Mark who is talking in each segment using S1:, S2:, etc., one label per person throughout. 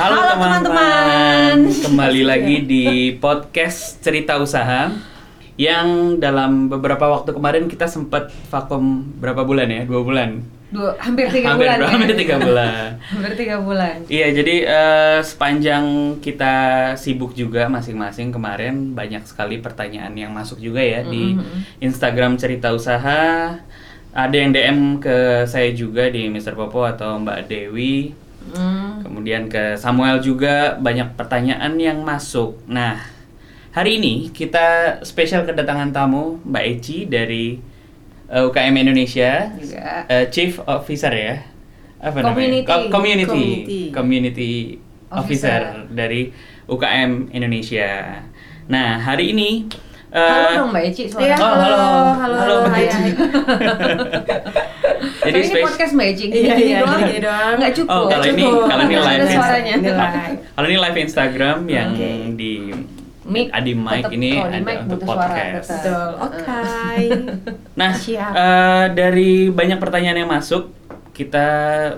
S1: Halo,
S2: Halo, teman-teman.
S1: teman-teman. Kembali lagi di podcast Cerita Usaha yang dalam beberapa waktu kemarin kita sempat vakum berapa bulan ya? Dua bulan.
S2: Dua, hampir tiga
S1: hampir
S2: bulan. ya.
S1: hampir tiga bulan.
S2: hampir tiga bulan.
S1: Iya, jadi eh, sepanjang kita sibuk juga masing-masing kemarin banyak sekali pertanyaan yang masuk juga ya di
S2: Mm-hmm.
S1: Instagram Cerita Usaha. Ada yang DM ke saya juga di Mr. Popo atau Mbak Dewi.
S2: Hmm.
S1: Kemudian ke Samuel juga banyak pertanyaan yang masuk. Nah, hari ini kita spesial kedatangan tamu Mbak Eci dari eh, UKM Indonesia,
S2: Juga.
S1: Eh, Chief Officer ya. Apa namanya?
S2: Community.
S1: Co- community.
S3: Community.
S1: Community Officer.
S2: Officer.
S1: dari UKM Indonesia. Nah, hari ini
S2: Halo
S1: eh,
S2: dong Mbak Eci
S3: Iya,
S1: Oh,
S2: suara.
S1: halo. Halo,
S3: halo,
S1: Mbak
S3: hai,
S1: Eci.
S3: hai.
S1: jadi
S2: Tapi ini
S1: spes-
S2: podcast Mbak Eci.
S3: Iya,
S2: Gini
S3: iya,
S2: doang.
S3: gini doang.
S2: Nggak cukup.
S1: Oh, kalau
S2: Nggak
S1: ini
S2: cukup.
S1: kalau ini
S2: Nggak
S1: live
S2: ada suaranya.
S3: Ini live.
S1: Kalau ini live Instagram yang
S3: Oke.
S1: di
S2: Mic,
S1: Adi Mic
S2: tetep
S1: ini
S2: kalau di
S1: ada
S2: mic
S1: untuk
S2: butuh suara,
S1: podcast.
S2: tetep.
S3: Betul. Oke.
S1: Nah,
S3: Siap.
S1: eh, dari banyak pertanyaan yang masuk, kita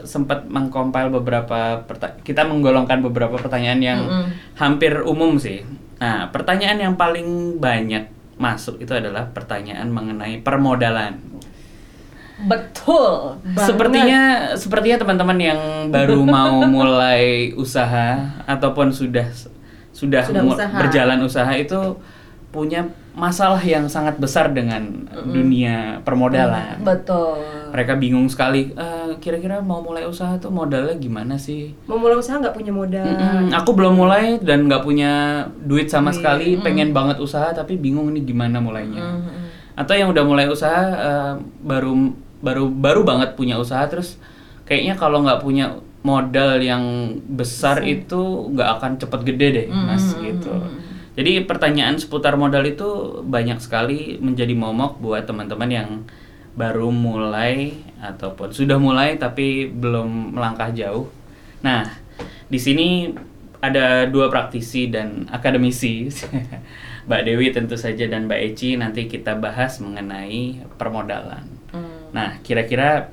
S1: sempat mengkompil beberapa perta- kita menggolongkan beberapa pertanyaan yang
S2: Mm-mm.
S1: hampir umum sih. Nah, pertanyaan yang paling banyak masuk itu adalah pertanyaan mengenai permodalan.
S2: Betul.
S3: Banget.
S1: Sepertinya sepertinya teman-teman yang baru mau mulai usaha ataupun sudah sudah,
S3: Sudah
S1: mu-
S3: usaha.
S1: berjalan usaha itu punya masalah yang sangat besar dengan dunia permodalan.
S2: Betul.
S1: Mereka bingung sekali. "Eh, kira-kira mau mulai usaha tuh modalnya gimana sih?
S3: Mau mulai usaha nggak punya modal.
S1: Mm-mm, aku belum mulai dan nggak punya duit sama sekali. Pengen banget usaha tapi bingung nih gimana mulainya.
S2: Hmm,
S1: Atau yang udah mulai usaha eh, baru baru baru banget punya usaha terus kayaknya kalau nggak punya modal yang besar itu nggak akan cepet gede deh mas gitu. Jadi pertanyaan seputar modal itu banyak sekali menjadi momok buat teman-teman yang baru mulai ataupun sudah mulai tapi belum melangkah jauh. Nah, di sini ada dua praktisi dan akademisi. Mbak Dewi tentu saja dan Mbak Eci nanti kita bahas mengenai permodalan.
S2: hmm.
S1: Nah, kira-kira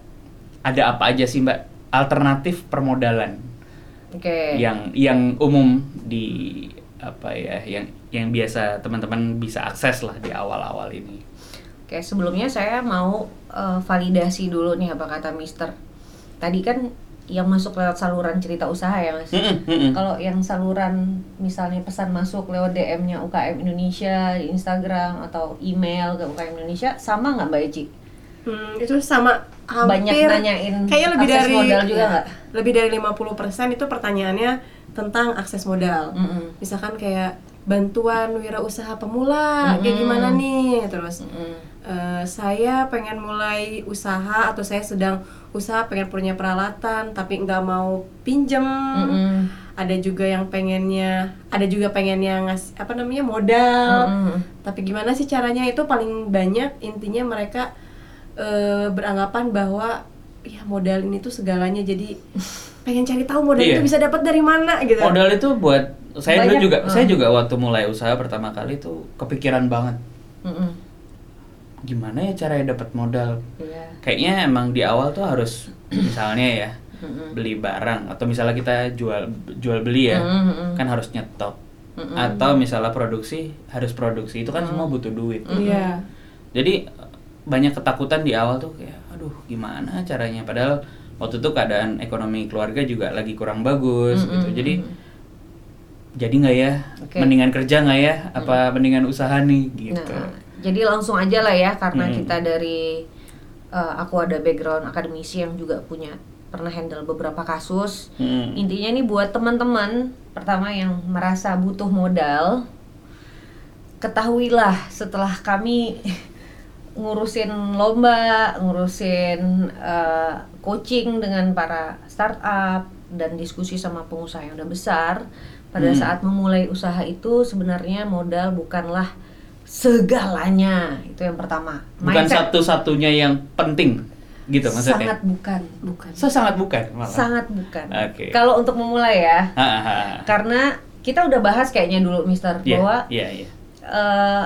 S1: ada apa aja sih Mbak alternatif permodalan
S2: Oke.
S1: yang yang umum di apa ya yang yang biasa teman-teman bisa akses lah di awal-awal ini.
S2: Oke, sebelumnya saya mau eh, validasi dulu nih apa kata Mister. Tadi kan yang masuk lewat saluran cerita usaha ya, Mas.
S1: Mm-mm, mm-mm.
S2: Kalau yang saluran misalnya pesan masuk lewat DM-nya UKM Indonesia di Instagram atau email ke UKM Indonesia sama nggak Mbak Eci?
S3: Hmm, itu sama hampir.
S2: Banyak nanyain
S3: Kayaknya lebih
S2: akses
S3: dari
S2: modal juga nggak?
S3: Lebih dari 50% itu pertanyaannya tentang akses modal.
S2: Mm-mm.
S3: Misalkan kayak bantuan wirausaha pemula, kayak
S2: Mm.
S3: gimana nih? Terus
S2: Mm.
S3: Eh, saya pengen mulai usaha atau saya sedang usaha pengen punya peralatan tapi nggak mau pinjem
S2: Mm-mm.
S3: ada juga yang pengennya ada juga pengennya ngas apa namanya modal
S2: Mm-mm.
S3: tapi gimana sih caranya itu paling banyak intinya mereka eh, beranggapan bahwa ya modal ini tuh segalanya jadi pengen cari tahu modal
S1: Iya.
S3: itu bisa dapat dari mana gitu
S1: Modal itu buat saya dulu
S2: Banyak,
S1: juga
S2: mm.
S1: saya juga waktu mulai usaha pertama kali itu kepikiran banget
S2: Mm-mm.
S1: gimana ya caranya dapat modal
S2: Iya.
S1: kayaknya emang di awal tuh harus misalnya ya
S2: Mm-mm.
S1: beli barang atau misalnya kita jual jual beli ya
S2: Mm-mm, mm-mm. Nah,
S1: kan harus nyetok
S2: Mm-mm.
S1: atau misalnya produksi harus produksi itu kan semua butuh duit
S3: iya
S1: jadi banyak ketakutan di awal tuh kayak aduh gimana caranya padahal waktu itu keadaan ekonomi keluarga juga lagi kurang bagus
S2: Mm-mm,
S1: gitu jadi jadi nggak ya
S2: Oke. Mm.
S1: mendingan kerja nggak ya apa mendingan usaha nih gitu
S2: Nah, jadi langsung aja lah ya karena
S1: Mm-mm.
S2: kita dari eh, aku ada background akademisi yang juga punya pernah handle beberapa kasus.
S1: Mm.
S2: Intinya nih buat teman-teman pertama yang merasa butuh modal ketahuilah setelah kami ngurusin lomba, ngurusin eh, coaching dengan para startup dan diskusi sama pengusaha yang udah besar, pada
S1: Hmm.
S2: saat memulai usaha itu sebenarnya modal bukanlah segalanya. Itu yang pertama.
S1: bukan
S2: Mindset
S1: satu-satunya yang penting gitu maksudnya
S2: sangat bukan.
S3: bukan
S1: so sangat bukan malah
S2: Sangat bukan.
S1: Oke.
S2: Kalau untuk memulai ya,
S1: Ha, ha, ha.
S2: karena kita udah bahas kayaknya dulu Mister
S1: Iya,
S2: bahwa
S1: iya, iya.
S2: eh,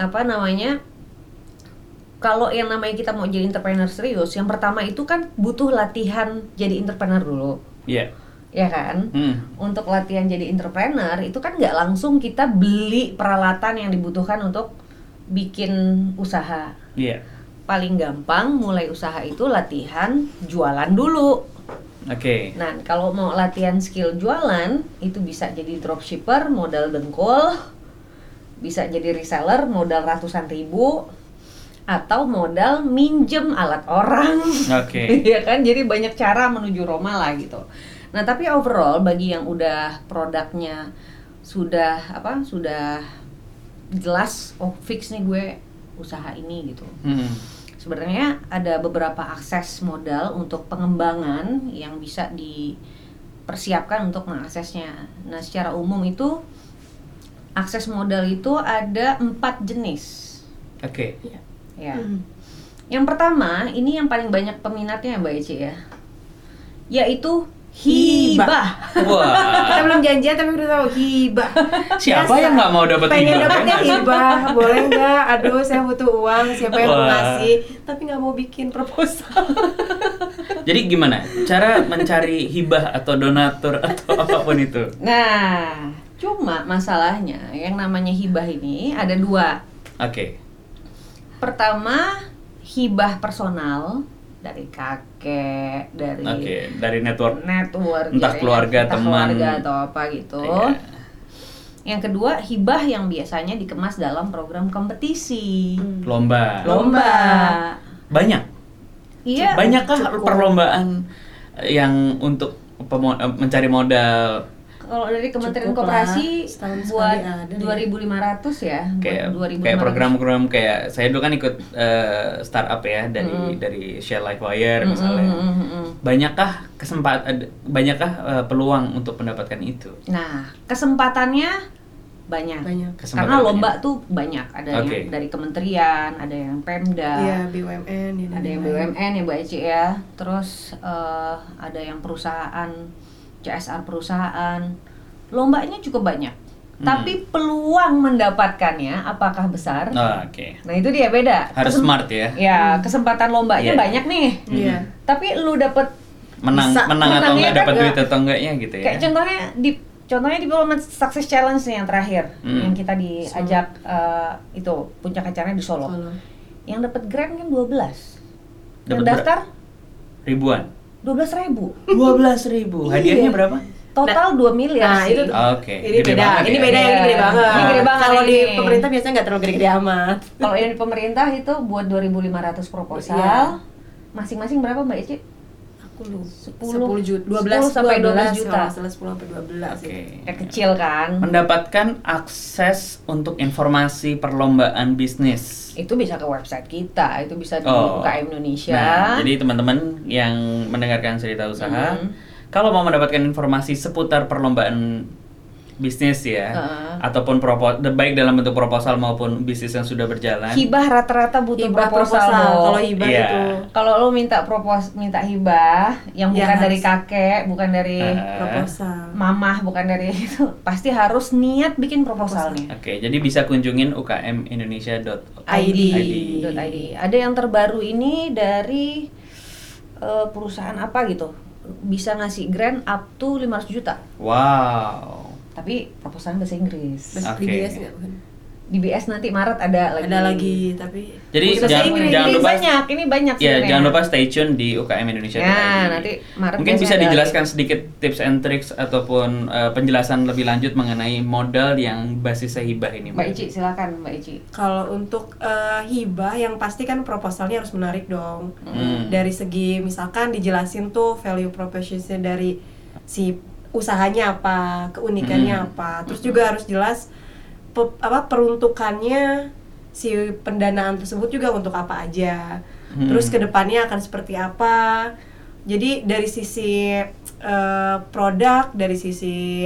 S2: apa namanya kalau yang namanya kita mau jadi entrepreneur serius yang pertama itu kan butuh latihan jadi entrepreneur dulu
S1: Iya.
S2: ya kan?
S1: Hmm.
S2: Untuk latihan jadi entrepreneur itu kan nggak langsung kita beli peralatan yang dibutuhkan untuk bikin usaha.
S1: Iya.
S2: Paling gampang mulai usaha itu latihan jualan dulu.
S1: Oke.
S2: Nah, kalau mau latihan skill jualan, itu bisa jadi dropshipper, modal dengkul, bisa jadi reseller, modal ratusan ribu, atau modal minjem alat orang.
S1: Oke.
S2: Iya kan? Jadi banyak cara menuju Roma lah gitu. Nah, tapi overall bagi yang udah produknya sudah apa? Sudah jelas, oh fix nih gue usaha ini gitu.
S1: Hmm.
S2: Sebenarnya ada beberapa akses modal untuk pengembangan yang bisa dipersiapkan untuk mengaksesnya. Nah, secara umum itu akses modal itu ada empat jenis.
S1: Oke.
S2: Ya.
S3: Hmm.
S2: Yang pertama, ini yang paling banyak peminatnya ya, Mbak Eci ya. Yaitu hibah.
S3: Kita
S1: Wah.
S3: belum janjian tapi udah tahu hibah.
S1: Siapa
S3: Biasa.
S1: yang nggak mau dapat
S3: Pengen
S1: hibah?
S3: dapetnya hibah, boleh nggak? Aduh, saya butuh uang. Siapa yang mau
S1: Wah.
S3: ngasih? Tapi nggak mau bikin proposal.
S1: Jadi gimana cara mencari hibah atau donatur atau apapun itu?
S2: Nah, cuma masalahnya yang namanya hibah ini ada dua.
S1: Oke.
S2: Pertama, hibah personal dari kakek, dari
S1: Oke. Dari network.
S2: network,
S1: Entah
S2: jadi
S1: keluarga,
S2: entah
S1: teman.
S2: keluarga atau apa gitu.
S1: Iya.
S2: Yang kedua, hibah yang biasanya dikemas dalam program kompetisi.
S3: Hmm.
S1: Lomba.
S2: Lomba.
S1: Banyak.
S2: Iya.
S1: Banyakkah
S2: cukup.
S1: perlombaan yang untuk pemo- eh, mencari modal?
S2: Kalau dari Kementerian
S3: Cukup lah,
S2: Koperasi
S3: setahun
S2: buat
S3: sekali ada deh.
S2: 2.500 ya,
S1: Kayak,
S2: buat 2.500.
S1: kayak program-program kayak saya dulu kan ikut eh, startup ya dari
S2: Mm.
S1: dari Share Life Wire
S2: Mm,
S1: misalnya.
S2: mm, mm, mm.
S1: Banyakkah kesempatan banyakkah eh, peluang untuk mendapatkan itu?
S2: Nah, kesempatannya banyak.
S3: Banyak.
S1: Kesempatan
S2: Karena lomba
S1: banyak.
S2: tuh banyak, ada
S1: Oke.
S2: yang dari kementerian, ada yang Pemda,
S3: Iya, BUMN. ya, dan
S2: ada yang
S3: lain-lain.
S2: BUMN ya Mbak Eci ya, terus eh, ada yang perusahaan CSR perusahaan. Lombanya cukup banyak.
S1: Hmm.
S2: Tapi peluang mendapatkannya apah besar?
S1: Ah, Oke.
S2: Nah, itu dia beda.
S1: Harus
S2: Kesem-
S1: smart ya.
S2: Ya, kesempatan
S1: Iya.
S2: lombanya banyak nih.
S3: Iya.
S2: Tapi lu dapet
S1: Menang
S3: Bisa.
S1: menang atau
S2: Menangnya
S1: enggak
S2: kan
S1: dapat
S2: nggak-
S1: duit atau enggaknya gitu ya.
S2: kayak contohnya di contohnya di Parlimen Success Challenge nih yang terakhir
S1: Hmm.
S2: yang kita diajak eh, itu puncak acaranya di Solo.
S3: Solo.
S2: Yang dapat grant kan 12.
S1: Dapat
S2: Yang daftar
S1: ribuan.
S2: 12 ribu.
S1: 12.000 ribu. Hadiahnya
S3: Iya.
S1: berapa?
S2: Total 2 miliar Iya
S3: Nah,
S2: sih.
S3: itu
S1: Oke.
S3: Ini
S1: gede
S3: beda,
S1: banget
S3: ini
S1: ya.
S3: beda, ini gede
S2: Iya.
S3: banget.
S1: Ini gede
S2: banget
S3: Kalau di
S2: ini.
S3: pemerintah biasanya nggak terlalu gede-gede amat.
S2: Kalau yang di pemerintah itu buat 2.500 proposal.
S3: Iya.
S2: Masing-masing berapa Mbak Eci?
S3: Aku lupa.
S2: 10.
S3: 10 juta, 12
S2: 10 sampai 12 juta.
S3: Kalau nggak salah 10 sampai 12.
S1: Oke.
S2: Kayak kecil kan.
S1: Mendapatkan akses untuk informasi perlombaan bisnis.
S2: Itu bisa ke website kita, itu bisa di
S1: Oh.
S2: UKM Indonesia.
S1: Nah, jadi teman-teman yang mendengarkan cerita usaha,
S2: Mhm.
S1: kalau mau mendapatkan informasi seputar perlombaan bisnis ya,
S2: Heeh.
S1: ataupun proposal baik dalam bentuk proposal maupun bisnis yang sudah berjalan.
S2: hibah rata-rata butuh
S3: Hibah
S2: proposal.
S3: proposal.
S2: Bo.
S3: Kalau hibah
S1: Iya.
S3: itu
S2: Kalau lo minta propos minta hibah yang
S3: Ya,
S2: bukan dari
S3: harus.
S2: kakek, bukan dari
S1: Eh,
S3: proposal.
S2: mamah, bukan dari itu, pasti harus niat bikin proposalnya.
S1: Oke, jadi bisa kunjungin ukmindonesia.id.
S3: ID.
S2: .id. Ada yang terbaru ini dari eh, perusahaan apa gitu. Bisa ngasih grant up to 500 juta.
S1: Wow.
S2: Tapi proposalnya bahasa Inggris.
S3: Terus
S1: Oke.
S3: DBS nggak, bukan?
S2: Di BS nanti Maret ada lagi.
S3: Ada lagi, tapi
S1: Jadi
S3: Bahasa
S1: jangan-
S3: Inggris.
S1: jangan
S2: ini
S1: lupa-
S2: banyak, ini banyak
S1: Ya,
S2: sebenarnya.
S1: jangan lupa stay tune di ukmindonesia.id.
S2: Ya, nanti Maret
S1: Mungkin bisa
S2: biasanya ada
S1: dijelaskan sedikit tips and tricks ataupun eh, penjelasan lebih lanjut mengenai modal yang basisnya hibah ini.
S2: Mbak Ici, silakan Mbak Ici.
S3: Kalau untuk eh, hibah yang pasti kan proposalnya harus menarik dong.
S1: Hmm.
S3: Dari segi misalkan dijelasin tuh value propositionnya dari si usahanya apa, keunikannya
S1: Hmm.
S3: apa. Terus juga harus jelas pe- apa peruntukannya si pendanaan tersebut juga untuk apa aja.
S1: Hmm.
S3: Terus kedepannya akan seperti apa. Jadi dari sisi eh, produk, dari sisi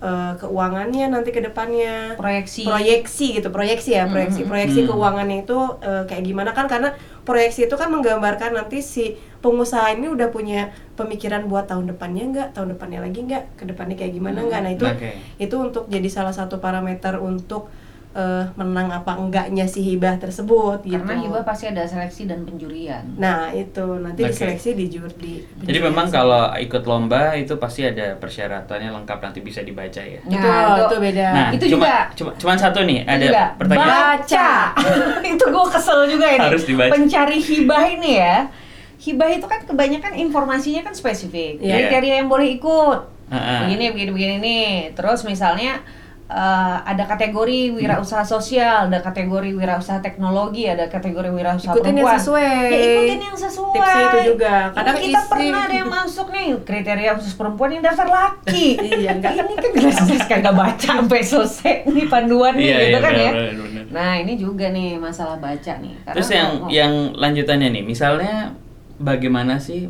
S3: eh, keuangannya nanti kedepannya
S2: Proyeksi.
S3: proyeksi gitu proyeksi ya proyeksi
S2: Mm-mm.
S3: proyeksi
S1: Mm.
S3: keuangannya itu eh, kayak gimana kan karena proyeksi itu kan menggambarkan nanti si pengusaha ini udah punya pemikiran buat tahun depannya nggak tahun depannya lagi nggak kedepannya kayak gimana nggak nah itu
S1: Oke.
S3: itu untuk jadi salah satu parameter untuk eh, menang apa enggaknya si hibah tersebut gitu.
S2: Karena hibah pasti ada seleksi dan penjurian.
S3: Nah, itu nanti
S1: Oke.
S3: diseleksi di juri.
S1: Jadi memang kalau ikut lomba itu pasti ada persyaratannya lengkap nanti bisa dibaca ya.
S2: Nah,
S3: itu, itu beda.
S1: Nah,
S2: Itu
S1: cuma,
S2: juga.
S1: cuma cuman satu nih, Eh, ada
S2: Juga,
S1: pertanyaan.
S2: Baca. itu gue kesel juga ini.
S1: Harus dibaca.
S2: Pencari hibah ini ya. Hibah itu kan kebanyakan informasinya kan spesifik.
S3: Iya.
S2: Kriteria yang boleh ikut.
S1: Heeh.
S2: Begini, begini, begini nih. Terus misalnya eh, ada kategori wirausaha sosial, ada kategori wirausaha teknologi, ada kategori wirausaha
S3: Ikutin yang
S2: perempuan.
S3: sesuai.
S2: Ya, ikutin yang sesuai.
S3: Tipsnya itu juga. Kadang
S2: kita
S3: isi-
S2: pernah ada yang masuk nih kriteria khusus perempuan yang daftar laki.
S3: Iya, enggak.
S2: Ini kan jelas-jelas kagak baca sampai selesai nih panduan nih
S1: Iya,
S2: gitu
S1: iya,
S2: kan
S1: benar,
S2: ya.
S1: benar, benar.
S2: Nah ini juga nih masalah baca nih. Karena
S1: Terus yang
S2: kalau-
S1: yang lanjutannya nih, misalnya bagaimana sih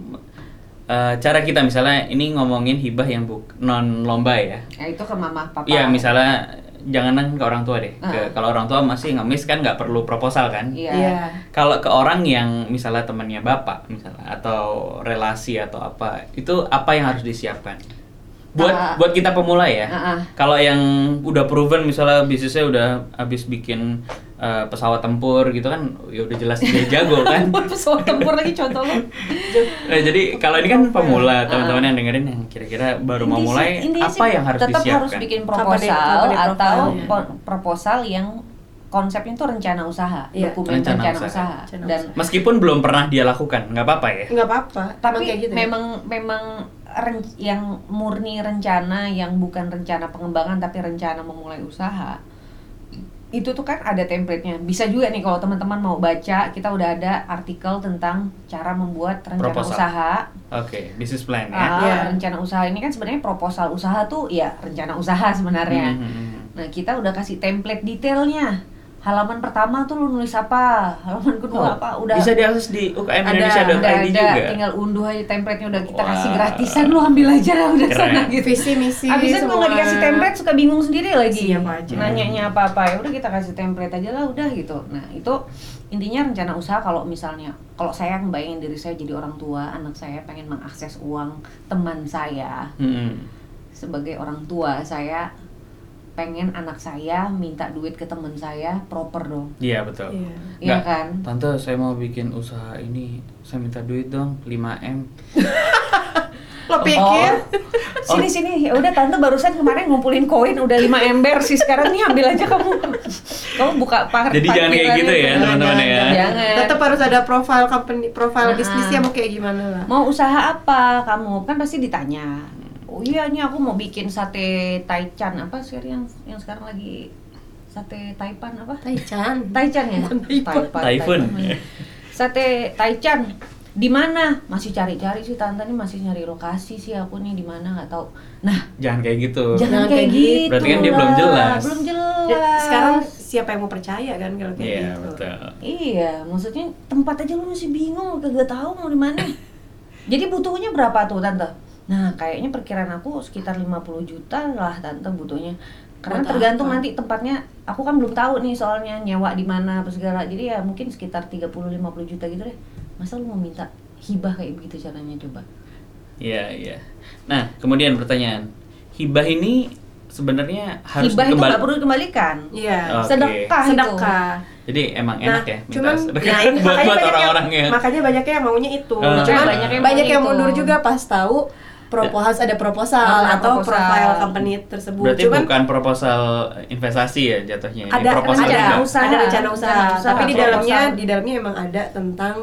S1: eh, cara kita misalnya ini ngomongin hibah yang buk- non lomba ya?
S2: Ya, itu ke mama papa.
S1: Iya, misalnya janganan ke orang tua deh.
S2: Ah.
S1: Ke- Kalau orang tua masih ngemis kan nggak perlu proposal kan?
S2: Iya.
S3: Iya.
S1: Kalau ke orang yang misalnya temannya bapak misalnya atau relasi atau apa, itu apa yang harus disiapkan? Buat
S2: Ah.
S1: buat kita pemula ya.
S2: Ah, ah.
S1: Kalau yang udah proven misalnya bisnisnya udah habis bikin eh, pesawat tempur gitu kan, ya udah jelas dia jago kan.
S2: Buat pesawat tempur lagi contoh lo.
S1: Nah, jadi kalau ini kan
S2: Ah,
S1: pemula, teman-teman yang dengerin yang kira-kira baru mau
S2: Intinya
S1: mulai,
S2: sih- intinya
S1: apa
S2: sih
S1: yang harus
S2: tetap
S1: disiapkan?
S2: harus bikin
S3: Company-
S2: proposal
S3: company profile,
S2: atau
S3: ya.
S2: po- proposal yang konsepnya itu rencana usaha,
S3: Iya.
S2: dokumen
S1: Rencana
S2: rencana,
S1: usaha.
S2: usaha.
S3: Rencana
S2: dan
S3: usaha.
S1: Meskipun belum pernah dia lakukan, nggak apa-apa ya.
S3: Enggak apa-apa.
S2: tapi
S3: Emang kayak gitu ya?
S2: memang memang ren- yang murni rencana yang bukan rencana pengembangan tapi rencana memulai usaha itu tuh kan ada template-nya bisa juga nih kalau teman-teman mau baca kita udah ada artikel tentang cara membuat rencana
S1: Proposal.
S2: usaha
S1: Oke, bisnis plan ya.
S2: Ah,
S3: Iya.
S2: rencana usaha ini kan sebenarnya proposal usaha tuh ya rencana usaha sebenarnya
S1: Hmm, hmm, hmm.
S2: Nah, kita udah kasih template detailnya. Halaman pertama tuh lu nulis apa? Halaman kedua
S1: Oh,
S2: apa? Udah
S1: bisa diakses di
S3: Ada,
S1: ukmindonesia.id
S2: udah ada,
S1: juga.
S2: tinggal unduh aja template-nya udah kita
S1: Wah.
S2: kasih gratisan, lu ambil aja udah
S1: Keren.
S2: sana gitu.
S3: visi misi
S2: Abis itu kalau nggak dikasih template suka bingung sendiri lagi.
S3: Siapa aja.
S2: Nanyanya apa-apa ya udah kita kasih template aja lah udah gitu. Nah, itu intinya rencana usaha kalau misalnya kalau saya ngebayangin diri saya jadi orang tua, anak saya pengen mengakses uang teman saya,
S1: Hmm, hmm.
S2: sebagai orang tua saya pengen anak saya minta duit ke temen saya proper dong
S1: Iya betul.
S3: Iya.
S2: iya
S1: Nggak,
S2: kan
S1: Tante, saya mau bikin usaha ini. Saya minta duit dong, 5M.
S3: Lo pikir
S2: Oh, sini sini ya udah tante barusan kemarin ngumpulin koin udah 5 ember sih sekarang nih ambil aja kamu kamu buka par
S1: Jadi jangan kayak
S2: parkiran
S1: gitu ya,
S2: itu.
S1: teman-teman ya.
S2: Iya, Jangan.
S3: Tetap harus ada profile company, profile
S2: Nah.
S3: bisnisnya mau kayak gimana lah.
S2: mau usaha apa kamu kan pasti ditanya oh iya ini aku mau bikin sate taichan apa sih yang yang sekarang lagi sate taipan apa
S3: Taichan.
S2: Taichan ya?
S1: Kan
S3: Bukan Taipan.
S2: Taipan,
S1: Taifun.
S2: Taipan. Sate Taichan di mana? Masih cari-cari sih tante nih masih nyari lokasi sih aku nih di mana nggak tahu. Nah,
S1: Jangan kayak gitu.
S2: jangan
S3: Jangan
S2: kayak
S3: kayak
S2: gitu.
S3: gitu.
S1: Berarti kan dia belum
S2: lah.
S1: jelas.
S2: Belum
S3: Ya,
S2: jelas.
S3: sekarang siapa yang mau percaya kan kalau kayak
S1: Iya
S3: gitu.
S1: betul.
S2: Iya, maksudnya tempat aja lu masih bingung, kagak tahu mau di mana. Jadi butuhnya berapa tuh tante? Nah, kayaknya perkiraan aku sekitar 50 juta lah tante butuhnya. Karena
S3: Buat
S2: tergantung
S3: apa?
S2: nanti tempatnya, aku kan belum tahu nih soalnya nyewa di mana apa segala. Jadi ya mungkin sekitar 30 50 juta gitu deh. Masa lu mau minta hibah kayak begitu caranya coba?
S1: Iya iya. Nah kemudian pertanyaan, hibah ini sebenarnya harus
S2: hibah itu
S1: dikembali-
S2: nggak perlu dikembalikan.
S3: Iya.
S1: Oke.
S2: Sedekah, itu.
S3: Sedekah.
S1: Jadi emang
S3: Nah,
S1: Oh. enak ya minta
S3: cuman
S1: sedekah
S3: nah, ini
S1: buat
S3: makanya
S1: buat
S3: banyak yang-
S1: orang-orang ya. yang
S3: Makanya banyak yang maunya itu.
S1: Eh.
S3: Cuman
S1: Banyak
S3: banyak
S1: yang
S3: yang,
S2: mau itu.
S3: mundur juga pas tahu propo- harus ada proposal
S2: Harus ada
S3: atau
S2: proposal.
S3: profile company tersebut.
S1: Ya. berarti
S3: Cuman
S1: bukan proposal investasi ya jatuhnya. Ini
S3: ada
S1: proposal
S3: ada
S1: juga.
S2: usaha.
S3: ada rencana usaha, Nah,
S2: Rencana usaha.
S3: tapi di
S2: Proposal.
S3: dalamnya di dalamnya emang ada tentang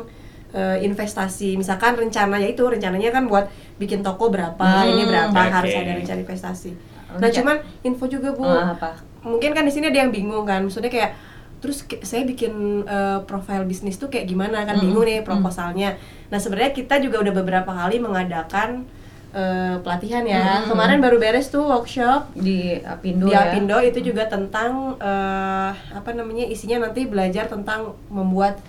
S3: eh, investasi misalkan rencana ya itu rencananya kan buat bikin toko berapa ini berapa
S1: Oke.
S3: harus ada rencana investasi nah
S2: Renca-
S3: cuman info juga bu
S2: Ah, apa?
S3: mungkin kan di sini ada yang bingung kan maksudnya kayak terus ke- saya bikin eh, profil bisnis tuh kayak gimana kan bingung nih proposalnya nah sebenarnya kita juga udah beberapa kali mengadakan eh, pelatihan ya kemarin baru beres tuh workshop
S2: Di Apindo
S3: di
S2: ya.
S3: Apindo itu juga tentang eh, apa namanya isinya nanti belajar tentang membuat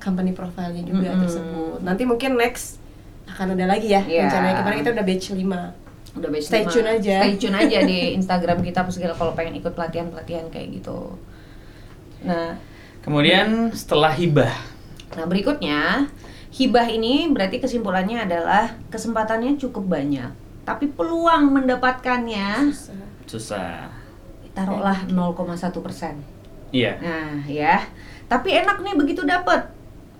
S3: company profilnya juga
S2: Mm-mm.
S3: tersebut. Nanti mungkin next akan ada lagi ya
S2: Iya.
S3: rencananya kemarin kita udah batch 5.
S2: udah batch
S3: Stay
S2: lima.
S3: tune aja.
S2: stay tune aja di Instagram kita apa segala kalau pengen ikut pelatihan pelatihan kayak gitu nah
S1: Kemudian setelah hibah,
S2: nah berikutnya hibah ini berarti kesimpulannya adalah kesempatannya cukup banyak tapi peluang mendapatkannya
S1: susah.
S2: taruhlah 0,1 persen
S1: Iya.
S2: Nah, ya. Tapi enak nih begitu dapet.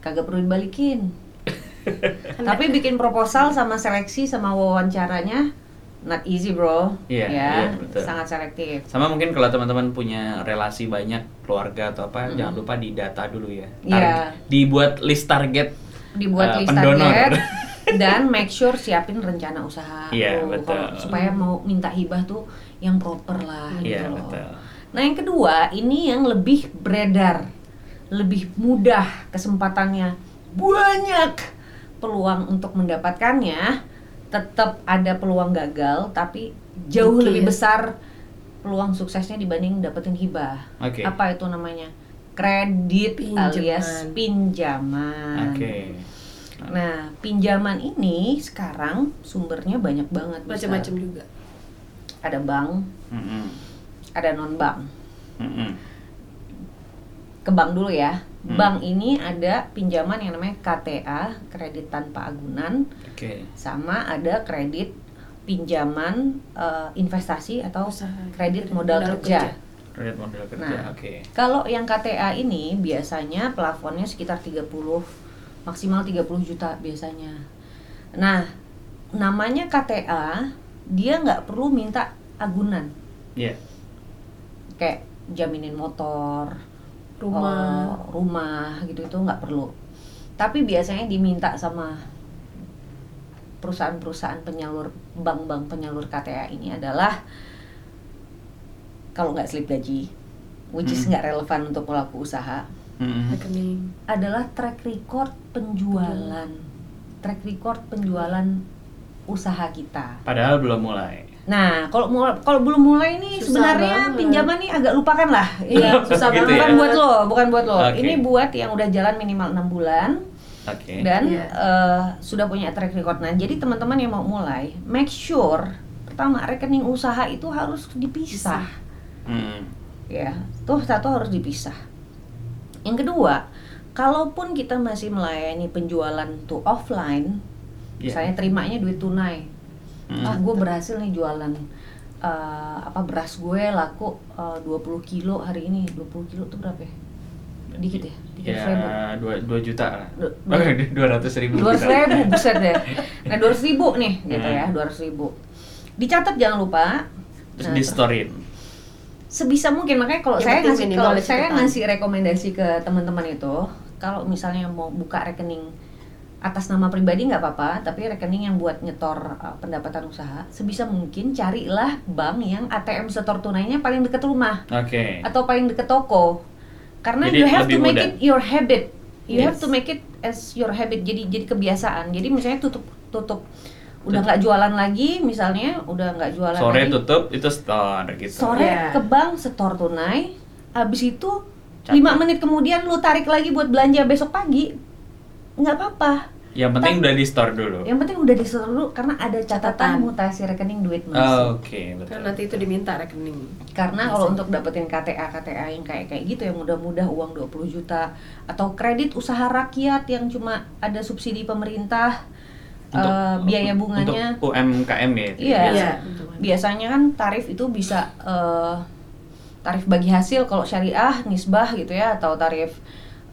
S2: Kagak perlu dibalikin. Tapi bikin proposal sama seleksi sama wawancaranya not easy, Bro.
S1: Iya,
S2: ya,
S1: iya, betul.
S2: sangat selektif.
S1: Sama mungkin kalau teman-teman punya relasi banyak keluarga atau apa, jangan lupa didata dulu ya.
S2: Hmm. Iya.
S1: Tar- Dibuat list target.
S2: Dibuat
S1: Eh,
S2: list
S1: pendonor.
S2: target dan make sure siapin rencana usaha
S1: Iya,
S2: tuh.
S1: betul.
S2: Kalau- supaya mau minta hibah tuh yang proper lah
S1: Iya,
S2: gitu loh.
S1: betul.
S2: Nah, yang kedua, ini yang lebih beredar, lebih mudah kesempatannya. Banyak peluang untuk mendapatkannya, tetap ada peluang gagal tapi jauh
S3: Oke.
S2: lebih besar peluang suksesnya dibanding dapetin hibah.
S1: Oke.
S2: Apa itu namanya? Kredit
S3: Pinjaman.
S2: alias pinjaman.
S1: Oke.
S2: Nah, pinjaman ini sekarang sumbernya banyak banget. besar.
S3: macam-macam juga
S2: Ada bank,
S1: Mm-mm.
S2: ada non-bank.
S1: Mm-mm.
S2: ke bank dulu ya.
S1: Hmm.
S2: Bank ini ada pinjaman yang namanya KTA, kredit tanpa agunan,
S1: Oke.
S2: sama ada kredit pinjaman eh, investasi atau
S3: Usaha.
S2: kredit modal
S3: Modal
S2: kerja.
S1: Kredit modal kerja.
S2: Nah.
S1: Oke.
S2: Kalau yang KTA ini biasanya plafonnya sekitar 30 maksimal 30 juta biasanya. Nah, namanya KTA, dia nggak perlu minta agunan.
S1: Iya.
S2: Kayak jaminin motor,
S3: rumah
S2: eh, rumah gitu itu nggak perlu tapi biasanya diminta sama perusahaan-perusahaan penyalur bank-bank penyalur KTA ini adalah kalau nggak slip gaji which is
S1: Mm.
S2: nggak relevan untuk pelaku usaha
S1: Mm-mm.
S3: rekening
S2: adalah track record penjualan track record penjualan usaha kita.
S1: Padahal belum mulai.
S2: Nah, kalau mul- kalau belum mulai nih
S3: Susah
S2: sebenarnya
S3: banget.
S2: pinjaman nih agak lupakan lah. Iya, susah
S1: Gitu ya?
S2: banget. Bukan buat lo, bukan buat lo.
S1: Oke.
S2: Ini buat yang udah jalan minimal enam bulan
S1: Oke.
S2: dan
S3: Iya.
S2: eh, sudah punya track record. Nah, jadi teman-teman yang mau mulai, make sure pertama rekening usaha itu harus dipisah.
S1: Mm-mm.
S2: Ya, tuh satu harus dipisah. Yang kedua, kalaupun kita masih melayani penjualan tuh offline,
S1: Iya.
S2: misalnya terimanya duit tunai,
S1: Mm-mm.
S2: ah gue berhasil nih jualan eh, apa beras gue laku eh, 20 kilo hari ini 20 kilo tuh berapa ya? Dikit ya? Dikit
S1: Ya,
S2: ribu.
S1: dua, dua juta lah.
S2: Du-
S1: Dua ratus ribu.
S2: dua ribu buset deh nah dua ribu nih gitu
S1: Hmm.
S2: ya dua ribu dicatat jangan lupa
S1: Terus
S2: Nah,
S1: di storein.
S2: sebisa mungkin makanya kalau
S3: Yang
S2: saya
S3: penting
S2: ngasih
S3: minimal
S2: kalau
S3: ada
S2: saya
S3: catatan.
S2: ngasih rekomendasi ke teman-teman itu kalau misalnya mau buka rekening atas nama pribadi nggak apa-apa tapi rekening yang buat nyetor uh, pendapatan usaha sebisa mungkin carilah bank yang ATM setor tunainya paling deket rumah
S1: Oke.
S2: atau paling deket toko karena
S1: Jadi
S2: you have to
S1: lebih
S2: make
S1: mudah.
S2: it your habit you
S1: Yes.
S2: have to make it as your habit jadi jadi kebiasaan jadi misalnya tutup tutup udah nggak jualan lagi misalnya udah nggak jualan
S1: Sore
S2: lagi
S1: tutup itu store gitu.
S2: sore
S3: Iya.
S2: ke bank setor tunai habis itu
S1: Catat.
S2: lima menit kemudian lu tarik lagi buat belanja besok pagi nggak apa-apa
S1: Yang penting udah di store dulu.
S2: yang penting udah disetor dulu karena ada catatan,
S3: Catatan.
S2: mutasi rekening duit mas
S1: Oh, Oke, betul.
S3: kan nanti itu diminta rekening
S2: Karena kalau untuk dapetin KTA KTA yang kayak kayak gitu yang mudah-mudah uang 20 juta atau kredit usaha rakyat yang cuma ada subsidi pemerintah eh, biaya bunganya
S1: untuk UMKM ya. itu
S2: Iya.
S1: biasa.
S3: Iya.
S2: biasanya kan tarif itu bisa eh, tarif bagi hasil kalau syariah nisbah gitu ya atau tarif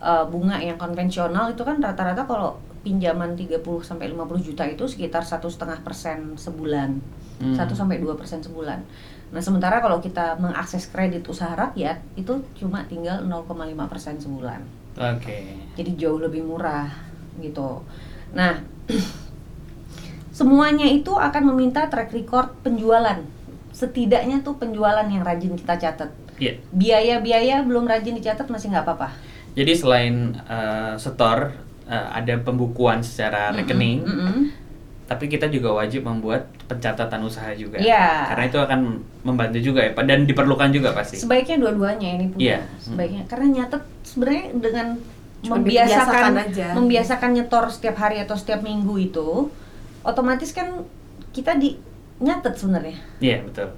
S2: eh, bunga yang konvensional itu kan rata-rata kalau pinjaman 30 sampai 50 juta itu sekitar satu setengah persen sebulan
S1: Hmm.
S2: 1 sampai 2 persen sebulan. Nah, sementara kalau kita mengakses kredit usaha rakyat itu cuma tinggal 0,5 persen sebulan.
S1: Oke.
S2: Jadi jauh lebih murah gitu. Nah, semuanya itu akan meminta track record penjualan. Setidaknya tuh penjualan yang rajin kita catat.
S1: Iya.
S2: Biaya-biaya belum rajin dicatat masih nggak apa-apa.
S1: Jadi selain eh, store eh, ada pembukuan secara Ah, rekening,
S2: Mm-mm.
S1: tapi kita juga wajib membuat pencatatan usaha juga.
S2: Iya.
S1: Karena itu akan membantu juga ya, dan diperlukan juga pasti.
S2: Sebaiknya dua-duanya ini punya.
S1: Iya.
S2: Sebaiknya karena nyatet sebenarnya dengan
S3: Cuma
S2: membiasakan
S3: dibiasakan aja.
S2: membiasakan nyetor setiap hari atau setiap minggu itu otomatis kan kita di nyatet sebenarnya.
S1: Iya, betul.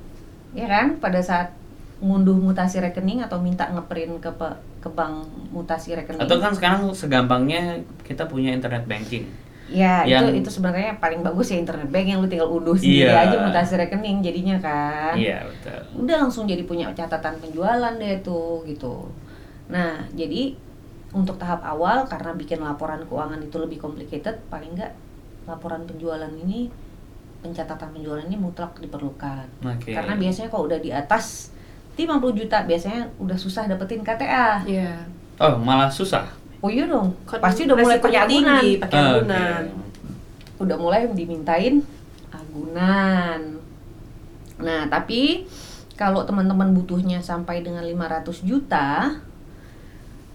S2: Ya kan? Pada saat ngunduh mutasi rekening atau minta ngeprint ke pe- ke bank mutasi rekening.
S1: Atau kan sekarang segampangnya kita punya internet banking.
S2: Ya,
S1: yang-
S2: itu itu sebenarnya paling bagus ya internet bank yang lu tinggal unduh sendiri
S1: Iya.
S2: aja mutasi rekening jadinya kan.
S1: Iya, betul.
S2: udah langsung jadi punya catatan penjualan deh tuh gitu Nah, jadi untuk tahap awal karena bikin laporan keuangan itu lebih complicated, paling nggak laporan penjualan ini pencatatan penjualan ini mutlak diperlukan.
S1: Oke.
S2: Karena biasanya kalau udah di atas 50 juta biasanya udah susah dapetin KTA.
S3: Iya.
S1: Oh, malah susah.
S2: Oh iya dong,
S3: Kan
S2: pasti udah mulai
S3: resikonya
S2: punya agunan.
S3: tinggi, pakai
S1: Ah, oke.
S3: agunan.
S2: udah mulai dimintain agunan. Nah, tapi kalau teman-teman butuhnya sampai dengan 500 juta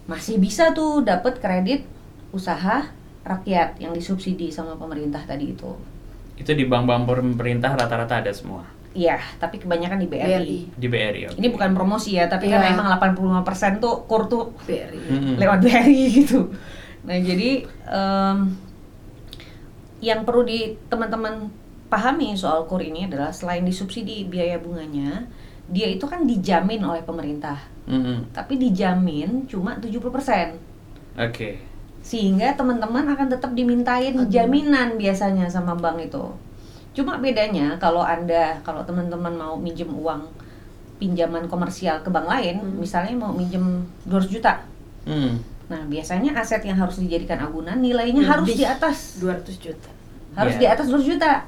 S2: masih bisa tuh dapat kredit usaha rakyat yang disubsidi sama pemerintah tadi itu.
S1: Itu di bank-bank pemerintah rata-rata ada semua.
S2: Iya, tapi kebanyakan di BRI.
S3: BRI.
S1: Di BRI. oke.
S2: Ini bukan promosi ya, tapi
S3: Iya.
S2: kan emang 85% tuh kur tuh
S3: BRI.
S1: Mm-mm.
S2: lewat BRI gitu. Nah jadi em, yang perlu di teman-teman pahami soal kur ini adalah selain disubsidi biaya bunganya, dia itu kan dijamin oleh pemerintah,
S1: Mm-mm.
S2: tapi dijamin cuma 70%.
S1: Oke.
S2: Sehingga teman-teman akan tetap dimintain
S3: Aduh.
S2: jaminan biasanya sama bank itu. Cuma bedanya kalau Anda kalau teman-teman mau minjem uang pinjaman komersial ke bank lain,
S3: Hmm.
S2: misalnya mau minjem 200 juta,
S1: Hmm.
S2: Nah, biasanya aset yang harus dijadikan agunan nilainya
S3: Lebih.
S2: harus di atas.
S3: 200 juta.
S2: Harus
S1: Iya.
S2: di atas 2 juta.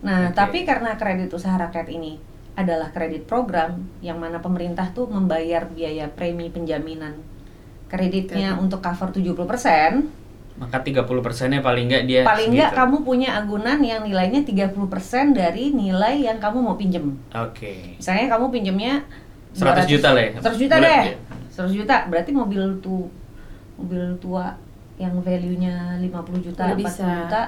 S2: Nah,
S1: Oke.
S2: tapi karena kredit usaha rakyat ini adalah kredit program yang mana pemerintah tuh membayar biaya premi penjaminan kreditnya
S3: Kredit.
S2: untuk cover 70%,
S1: Maka 30 persennya paling nggak dia
S2: paling nggak
S1: segitu.
S2: kamu punya agunan yang nilainya 30% dari nilai yang kamu mau pinjem.
S1: Oke.
S2: Misalnya kamu pinjemnya
S1: 100
S2: 200
S1: juta lah ya.
S2: 100 juta
S1: Bulat
S2: deh.
S1: ya.
S2: 100 juta berarti mobil tuh mobil tua yang value-nya 50 juta,
S3: Udah
S2: 40
S3: bisa.
S2: juta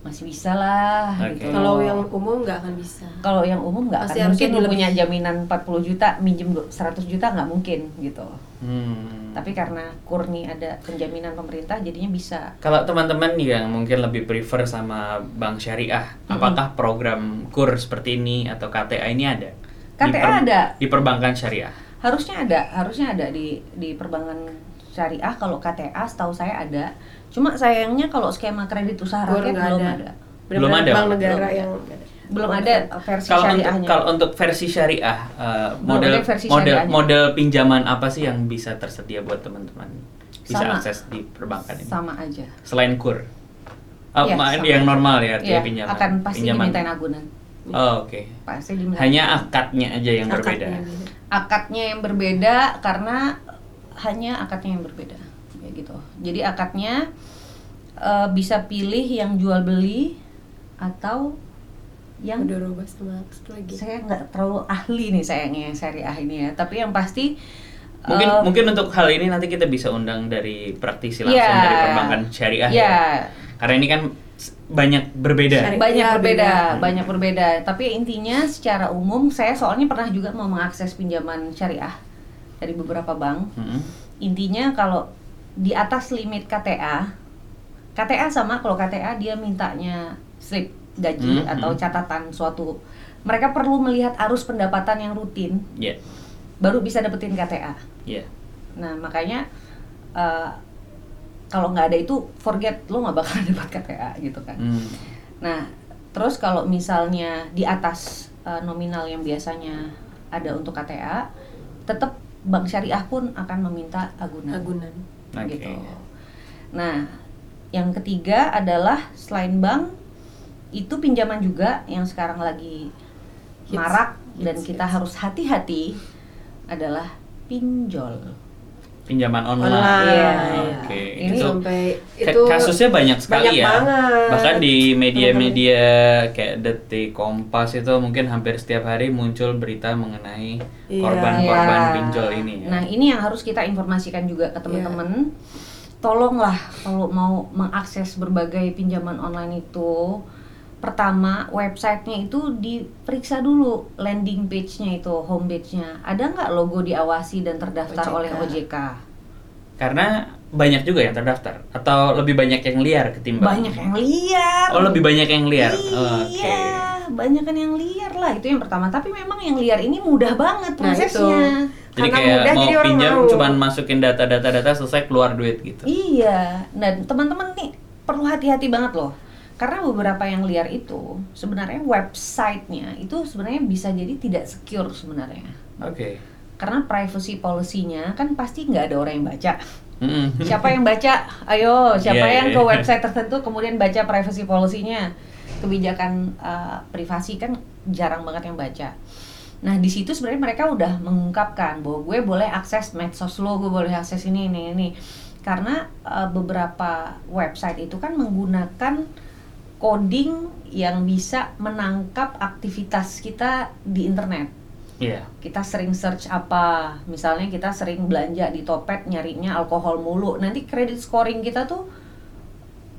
S2: masih bisa lah
S1: Oke.
S2: gitu.
S3: Kalau yang umum nggak akan bisa.
S2: kalau yang umum nggak
S3: Pasti
S2: akan mungkin
S3: harusnya
S2: lu punya
S3: lebih.
S2: jaminan 40 juta minjem du- 100 juta nggak mungkin gitu.
S1: Hmm.
S2: Tapi karena kurni ada penjaminan pemerintah jadinya bisa.
S1: Kalau teman-teman yang mungkin lebih prefer sama bank syariah, apakah program kur seperti ini atau KTA ini ada?
S2: KTA ada.
S1: Di perbankan syariah.
S2: Harusnya ada, harusnya ada di di perbankan syariah kalau KTA setahu saya ada. Cuma sayangnya kalau skema kredit usaha
S3: Kur
S2: rakyat
S3: nggak
S2: Ah, belum
S3: ada.
S2: ada.
S1: Belum
S3: Benar-benar
S1: ada.
S3: Bank negara
S2: Belum ada.
S3: yang
S2: Belum ada versi
S1: Kalau untuk
S2: syariahnya.
S1: kalau untuk versi syariah, eh,
S2: Belum
S1: model
S2: ada versi
S1: model
S2: syariahnya.
S1: model pinjaman apa sih yang bisa tersedia buat teman-teman bisa
S2: Sama.
S1: akses di perbankan ini?
S2: sama aja.
S1: Selain kur, Ah,
S2: Iya,
S1: ma-
S2: sama.
S1: yang normal ya artinya
S2: Iya,
S1: pinjaman.
S2: akan pasti
S1: pinjaman.
S2: dimintain agunan.
S1: Oh, Oke.
S2: Pasti dimintain.
S1: Hanya akadnya aja yang
S3: akadnya.
S1: berbeda.
S2: akadnya yang berbeda karena hanya akadnya yang berbeda kayak gitu. Jadi akadnya eh, bisa pilih yang jual beli atau yang
S3: Udah roba sama Max
S2: kan?
S3: lagi.
S2: saya nggak terlalu ahli nih sayangnya syariah ini ya. Tapi yang pasti
S1: Mungkin
S2: eh,
S1: mungkin untuk hal ini nanti kita bisa undang dari praktisi langsung
S2: Iya.
S1: dari perbankan syariah
S2: Iya.
S1: ya. Karena ini kan s- banyak berbeda.
S3: Syariah.
S2: banyak
S3: Iya,
S2: berbeda,
S1: beda.
S2: banyak berbeda. Tapi intinya secara umum saya soalnya pernah juga mau mengakses pinjaman syariah dari beberapa bank.
S1: Mm-mm.
S2: Intinya kalau di atas limit KTA, KTA sama kalau KTA dia mintanya slip gaji
S1: Hmm,
S2: atau
S1: hmm.
S2: catatan suatu. Mereka perlu melihat arus pendapatan yang rutin
S1: Ya,
S2: baru bisa dapetin KTA.
S1: ya.
S2: Nah makanya eh, kalau nggak ada itu forget lo nggak bakal dapat KTA gitu kan.
S1: Hmm.
S2: Nah, terus kalau misalnya di atas eh, nominal yang biasanya ada untuk KTA, tetap bank syariah pun akan meminta agunan.
S3: Agunan.
S1: Oke.
S2: Gitu. Nah, yang ketiga adalah selain bank itu pinjaman juga yang sekarang lagi
S3: Hits.
S2: marak dan
S3: Hits,
S2: kita
S3: hits.
S2: harus hati-hati adalah pinjol.
S1: Pinjaman online.
S3: Online.
S2: Iya.
S1: Oke.
S2: Ini
S1: itu
S3: sampai
S1: ka-
S3: itu
S1: kasusnya banyak sekali
S3: banyak
S1: ya.
S3: banget.
S1: Bahkan di media-media kayak Detik, Kompas itu mungkin hampir setiap hari muncul berita mengenai
S3: Iya.
S1: korban-korban
S2: Iya.
S1: Kan pinjol ini ya.
S2: Nah, ini yang harus kita informasikan juga
S3: Iya.
S2: ke teman-teman. Tolonglah kalau mau mengakses berbagai pinjaman online itu, pertama websitenya itu diperiksa dulu landing page-nya itu, home page-nya. Ada nggak logo diawasi dan terdaftar
S3: OJK.
S2: oleh OJK?
S1: Karena banyak juga yang terdaftar atau lebih banyak yang liar ketimbang
S2: Banyak yang liar.
S1: Oh, lebih banyak yang liar.
S2: Iya,
S1: Oke.
S2: banyak kan yang liar lah itu yang pertama. Tapi memang yang liar ini mudah banget
S3: Nah, itu.
S2: prosesnya.
S1: Jadi
S3: Karena
S1: kayak
S3: mudah,
S1: mau
S3: jadi orang
S1: pinjam
S3: mau.
S1: cuman masukin data-data data selesai keluar duit gitu.
S2: Iya, dan teman-teman nih perlu hati-hati banget loh. Karena beberapa yang liar itu sebenarnya websitenya itu sebenarnya bisa jadi tidak secure sebenarnya.
S1: Oke.
S2: karena privacy policy-nya kan pasti nggak ada orang yang baca.
S1: Mm-mm.
S2: Siapa yang baca? Ayo, siapa
S1: Iya,
S2: yang
S1: iya,
S2: ke
S1: iya.
S2: website tertentu kemudian baca privacy policy-nya? Kebijakan eh, privasi kan jarang banget yang baca. Nah, di situ sebenarnya mereka udah mengungkapkan bahwa gue boleh akses medsos lo, gue boleh akses ini ini ini. Karena eh, beberapa website itu kan menggunakan coding yang bisa menangkap aktivitas kita di internet
S1: Iya.
S2: kita sering search apa misalnya kita sering belanja di Topet nyarinya alkohol mulu nanti credit scoring kita tuh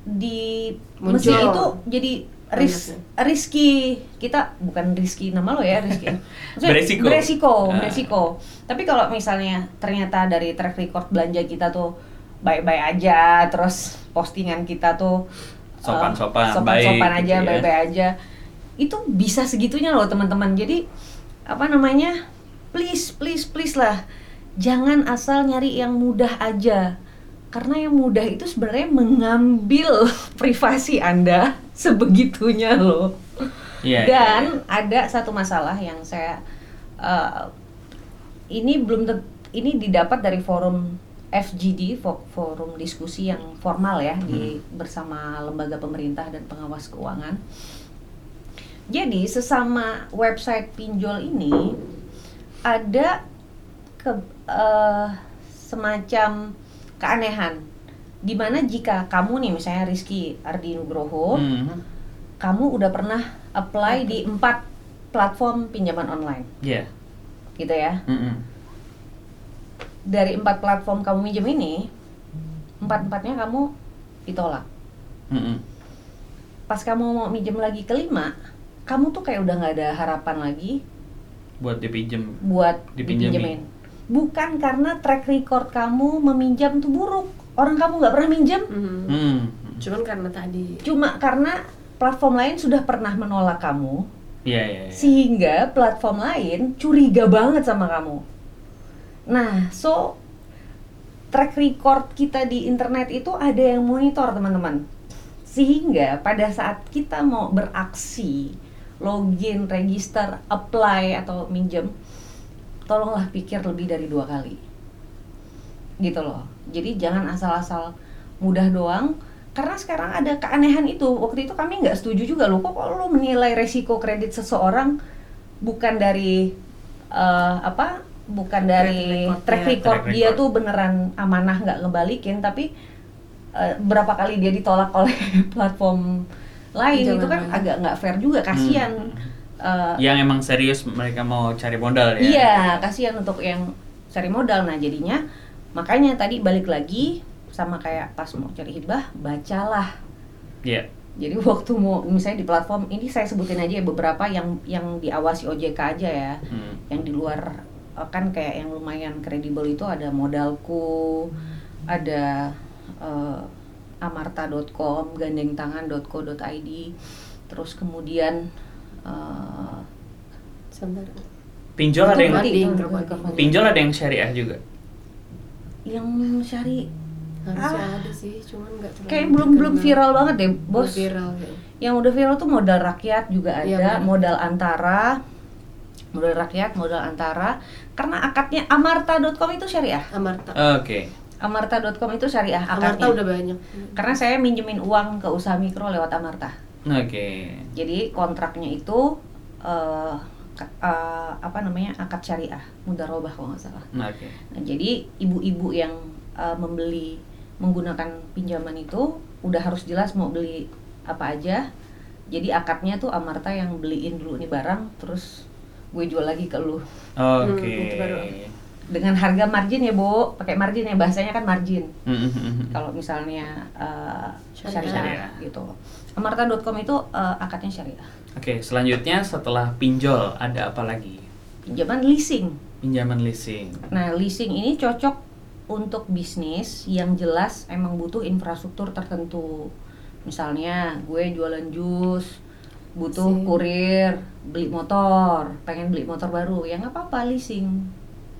S2: di
S3: Muncul.
S2: mesin itu jadi ris risky kita bukan risky nama lo ya risky Maksudnya
S1: Beresiko.
S2: beresiko
S1: Ah.
S2: beresiko. tapi kalau misalnya ternyata dari track record belanja kita tuh baik-baik aja terus postingan kita tuh
S1: Sopan-sopan,
S2: eh, sopan-sopan
S1: baik
S2: aja
S1: gitu ya.
S2: baik-baik aja itu bisa segitunya loh teman-teman jadi apa namanya please please please lah jangan asal nyari yang mudah aja karena yang mudah itu sebenarnya mengambil privasi anda sebegitunya loh
S1: Iya.
S2: dan ada satu masalah yang saya eh, ini belum tet- ini didapat dari forum FGD fo- forum diskusi yang formal ya
S1: Hmm.
S2: di bersama lembaga pemerintah dan pengawas keuangan. Jadi sesama website pinjol ini ada ke eh, semacam keanehan dimana jika kamu nih misalnya Rizky Ardi Nugroho
S1: Mm.
S2: kamu udah pernah apply di empat platform pinjaman online
S1: Iya.
S2: gitu ya
S1: Mm-mm.
S2: dari empat platform kamu minjem ini empat empatnya kamu ditolak
S1: Mm-mm.
S2: pas kamu mau minjem lagi kelima kamu tuh kayak udah nggak ada harapan lagi
S1: Buat dipinjem.
S2: buat
S1: Dipinjemin.
S2: dipinjemin bukan karena track record kamu meminjam tuh buruk orang kamu nggak pernah minjem
S3: Mhm.
S1: Hmm.
S3: Cuman karena tadi
S2: cuma karena platform lain sudah pernah menolak kamu
S1: Iya, iya. iya.
S2: sehingga platform lain curiga banget sama kamu. Nah, so track record kita di internet itu ada yang monitor teman-teman. Sehingga pada saat kita mau beraksi, login, register, apply atau minjem, tolonglah pikir lebih dari dua kali. Gitu loh. Jadi jangan asal-asal mudah doang karena sekarang ada keanehan itu waktu itu kami nggak setuju juga loh kok kok lo menilai resiko kredit seseorang bukan dari eh, apa bukan dari
S3: Track recordnya.
S2: track record,
S1: Track
S2: dia
S1: record.
S2: tuh beneran amanah nggak ngebalikin tapi eh, berapa kali dia ditolak oleh platform lain
S3: Pinjaman
S2: itu kan
S3: online.
S2: agak nggak fair juga kasihan
S3: Hmm.
S2: Eh,
S1: Mm. Yang emang serius mereka mau cari modal ya.
S2: Iya, kasihan untuk yang cari modal. Nah, jadinya makanya tadi balik lagi sama kayak pas mau cari hibah, bacalah.
S1: Iya.
S2: Jadi waktu mau misalnya di platform ini saya sebutin aja ya beberapa yang yang diawasi OJK aja ya.
S1: Hmm.
S2: Yang di luar eh, kan kayak yang lumayan kredibel itu ada modalku, ada eh, amarta.com, gandengtangan.co.id, terus kemudian eh,
S3: sebentar.
S1: Pinjol ada yang
S3: Otomatis.
S2: Gerbadi,
S3: Gerbadi.
S2: Gerbadi.
S1: pinjol ada yang syariah juga.
S2: yang syari
S3: Harusnya
S2: Ah.
S3: ada sih, cuman nggak terlalu
S2: kayak belum belum
S3: dikenal.
S2: viral banget deh bos
S3: Hmm, Belum viral ya.
S2: yang udah viral tuh modal rakyat juga ada
S3: Iya, benar.
S2: modal antara modal rakyat modal antara karena akadnya amarta.com itu syariah
S3: Amarta.
S1: Oke.
S2: amarta.com itu syariah
S1: Oh,
S3: Amarta
S1: ya.
S2: akadnya
S3: udah banyak.
S2: karena saya minjemin uang ke usaha mikro lewat amarta
S1: Oke.
S2: jadi kontraknya itu eh, ka- eh, apa namanya akad syariah mudarobah kalau nggak salah
S1: Oke.
S2: Nah, jadi ibu-ibu yang uh, membeli menggunakan pinjaman itu udah harus jelas mau beli apa aja. Jadi akadnya tuh Amarta yang beliin dulu nih barang, terus gue jual lagi ke lu
S1: Oh, Oke.
S3: Hmm, itu baru.
S2: dengan harga margin ya bu, pakai margin ya bahasanya kan margin.
S1: Hmm.
S2: Kalau misalnya uh,
S3: Syariah.
S2: syariah,
S1: Syariah.
S2: gitu. Amarta.com itu uh, akadnya syariah.
S1: Oke, selanjutnya setelah pinjol ada apa lagi?
S2: Pinjaman leasing.
S1: Pinjaman leasing.
S2: Nah, leasing ini cocok untuk bisnis yang jelas emang butuh infrastruktur tertentu. Misalnya gue jualan jus, butuh
S3: Leasing.
S2: kurir, beli motor, pengen beli motor baru, ya nggak apa-apa leasing.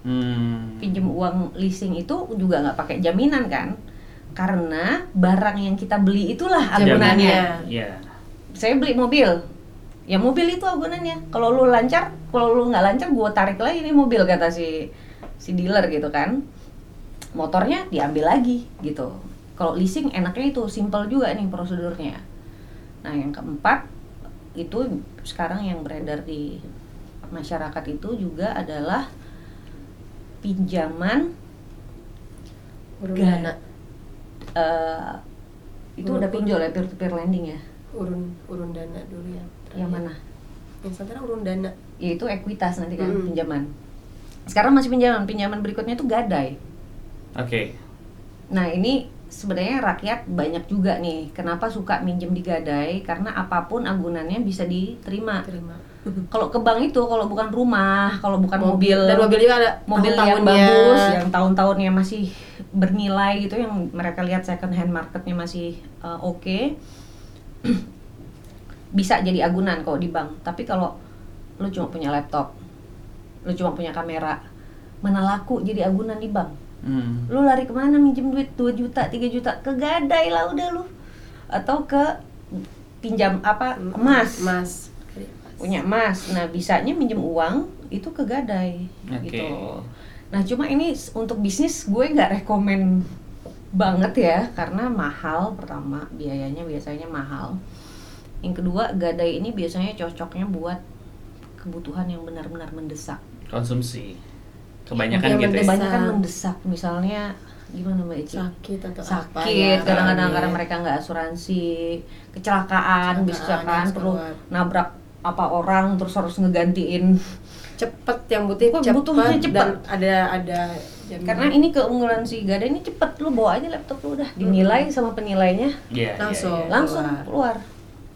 S1: Hmm.
S2: Pinjem uang leasing itu juga nggak pakai jaminan kan? Karena barang yang kita beli itulah agunannya.
S3: Jaminannya.
S1: Iya.
S2: Saya beli mobil, ya mobil itu agunannya. Kalau lu lancar, kalau lu nggak lancar, gue tarik lagi nih mobil kata si si dealer gitu kan motornya diambil lagi gitu kalau leasing enaknya itu simple juga nih prosedurnya nah yang keempat itu sekarang yang beredar di masyarakat itu juga adalah pinjaman
S3: Urun,
S2: eh, itu
S3: Urun-
S2: udah pinjol ya peer to peer lending ya
S3: urun urun dana dulu ya.
S2: yang mana
S3: Yang sekarang urun dana.
S2: yaitu ekuitas nanti kan
S3: Mm.
S2: pinjaman sekarang masih pinjaman pinjaman berikutnya itu gadai
S1: Oke.
S2: Nah ini sebenarnya rakyat banyak juga nih kenapa suka minjem di gadai karena apapun agunannya bisa diterima.
S3: Terima.
S2: Kalau ke bank itu kalau bukan rumah, kalau bukan mobil,
S3: dan mobil juga ada
S2: mobil yang
S3: tahun-tahunnya.
S2: bagus, ya. yang tahun-tahunnya masih bernilai gitu, yang mereka lihat second hand marketnya masih uh, oke, bisa jadi agunan kalau di bank. Tapi kalau lu cuma punya laptop, lu cuma punya kamera, mana laku jadi agunan di bank?
S1: Hmm.
S2: lu lari kemana minjem duit 2 juta 3 juta ke gadai lah udah lu atau ke pinjam apa emas
S3: Emas.
S2: punya emas nah bisanya minjem uang itu ke gadai
S1: Oke.
S2: gitu nah cuma ini s- untuk bisnis gue nggak rekomen banget ya karena mahal pertama biayanya biasanya mahal yang kedua gadai ini biasanya cocoknya buat kebutuhan yang benar-benar mendesak Iya,
S1: Konsumsi. Kebanyakan
S3: Yang
S1: gitu ya.
S3: mendesak.
S2: kebanyakan mendesak misalnya gimana mbak Eci?
S3: sakit atau apa
S2: sakit
S3: ya,
S2: kadang-kadang
S3: ya.
S2: karena mereka nggak asuransi kecelakaan bis
S3: Kecelakaan,
S2: kecelakaan perlu
S3: harus
S2: nabrak apa orang terus harus ngegantiin
S3: Hmm. cepet yang butuh
S2: Wah,
S3: cepet,
S2: butuhnya
S3: dan
S2: cepet.
S3: ada ada jaminan.
S2: karena ini keunggulan si Gada ini cepet lu bawa aja laptop lu
S3: Hmm.
S2: udah dinilai sama penilainya
S1: Iya, iya,
S3: Langsung.
S1: iya.
S2: langsung keluar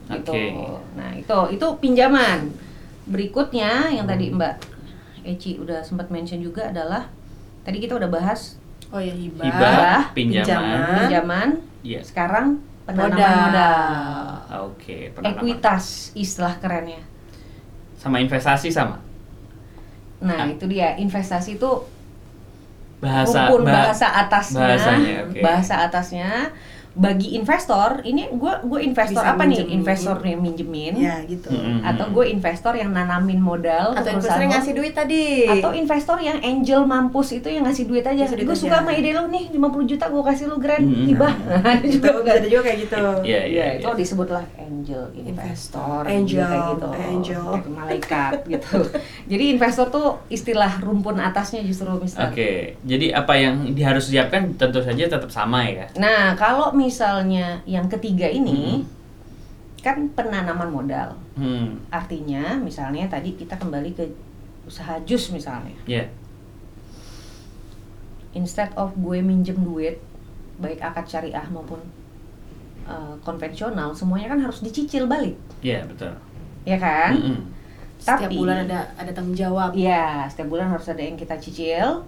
S2: gitu
S1: Oke.
S2: nah itu itu pinjaman berikutnya yang
S1: Hmm.
S2: tadi Mbak Eci udah sempat mention juga adalah tadi kita udah bahas
S3: oh ya hibah,
S1: Hibah,
S2: pinjaman,
S1: pinjaman.
S2: pinjaman
S1: Iya.
S2: sekarang penanaman
S3: Modal.
S2: modal.
S1: Oke, penanaman.
S2: ekuitas istilah kerennya.
S1: Sama investasi sama.
S2: Nah,
S1: Ah.
S2: itu dia investasi itu
S1: Bahasa
S2: rumpun
S1: ba-
S2: bahasa atasnya.
S1: bahasanya, oke.
S2: Bahasa atasnya bagi investor, ini gue gue investor
S3: Bisa
S2: apa nih?
S3: minjemin.
S2: Investor yang minjemin
S3: ya gitu
S1: Mm-mm.
S2: atau gue investor yang nanamin modal
S3: atau
S2: ke perusahaan
S3: investor yang
S2: lo?
S3: ngasih duit tadi
S2: atau investor yang angel mampus itu yang ngasih duit aja.
S3: Ngasih duit
S2: Gue
S3: aja.
S2: suka sama ide lu nih, 50 juta gue kasih lu grand
S1: Mm-mm.
S2: hibah. Ada
S3: Gitu,
S2: juga
S3: bisa ada juga kayak gitu
S1: Mm-hmm. Iya, iya,
S2: Iya, itu
S1: iya.
S2: disebutlah angel investor,
S3: Angel,
S2: juga kayak gitu,
S3: angel.
S2: kayak malaikat gitu. Jadi investor tuh istilah rumpun atasnya justru mister.
S1: Oke, jadi apa yang di- harus disiapkan tentu saja tetap sama ya.
S2: Nah, kalau misalnya yang ketiga ini
S1: Mm-hmm.
S2: kan penanaman modal.
S1: Hmm,
S2: Artinya, misalnya tadi kita kembali ke usaha jus misalnya.
S1: ya.
S2: Instead of gue minjem duit baik akad syariah maupun eh, konvensional, semuanya kan harus dicicil balik,
S1: Iya, betul.
S2: ya kan?
S1: Mm-mm.
S3: setiap
S2: Tapi-
S3: bulan ada ada tanggung jawab
S2: Iya, setiap bulan harus ada yang kita cicil.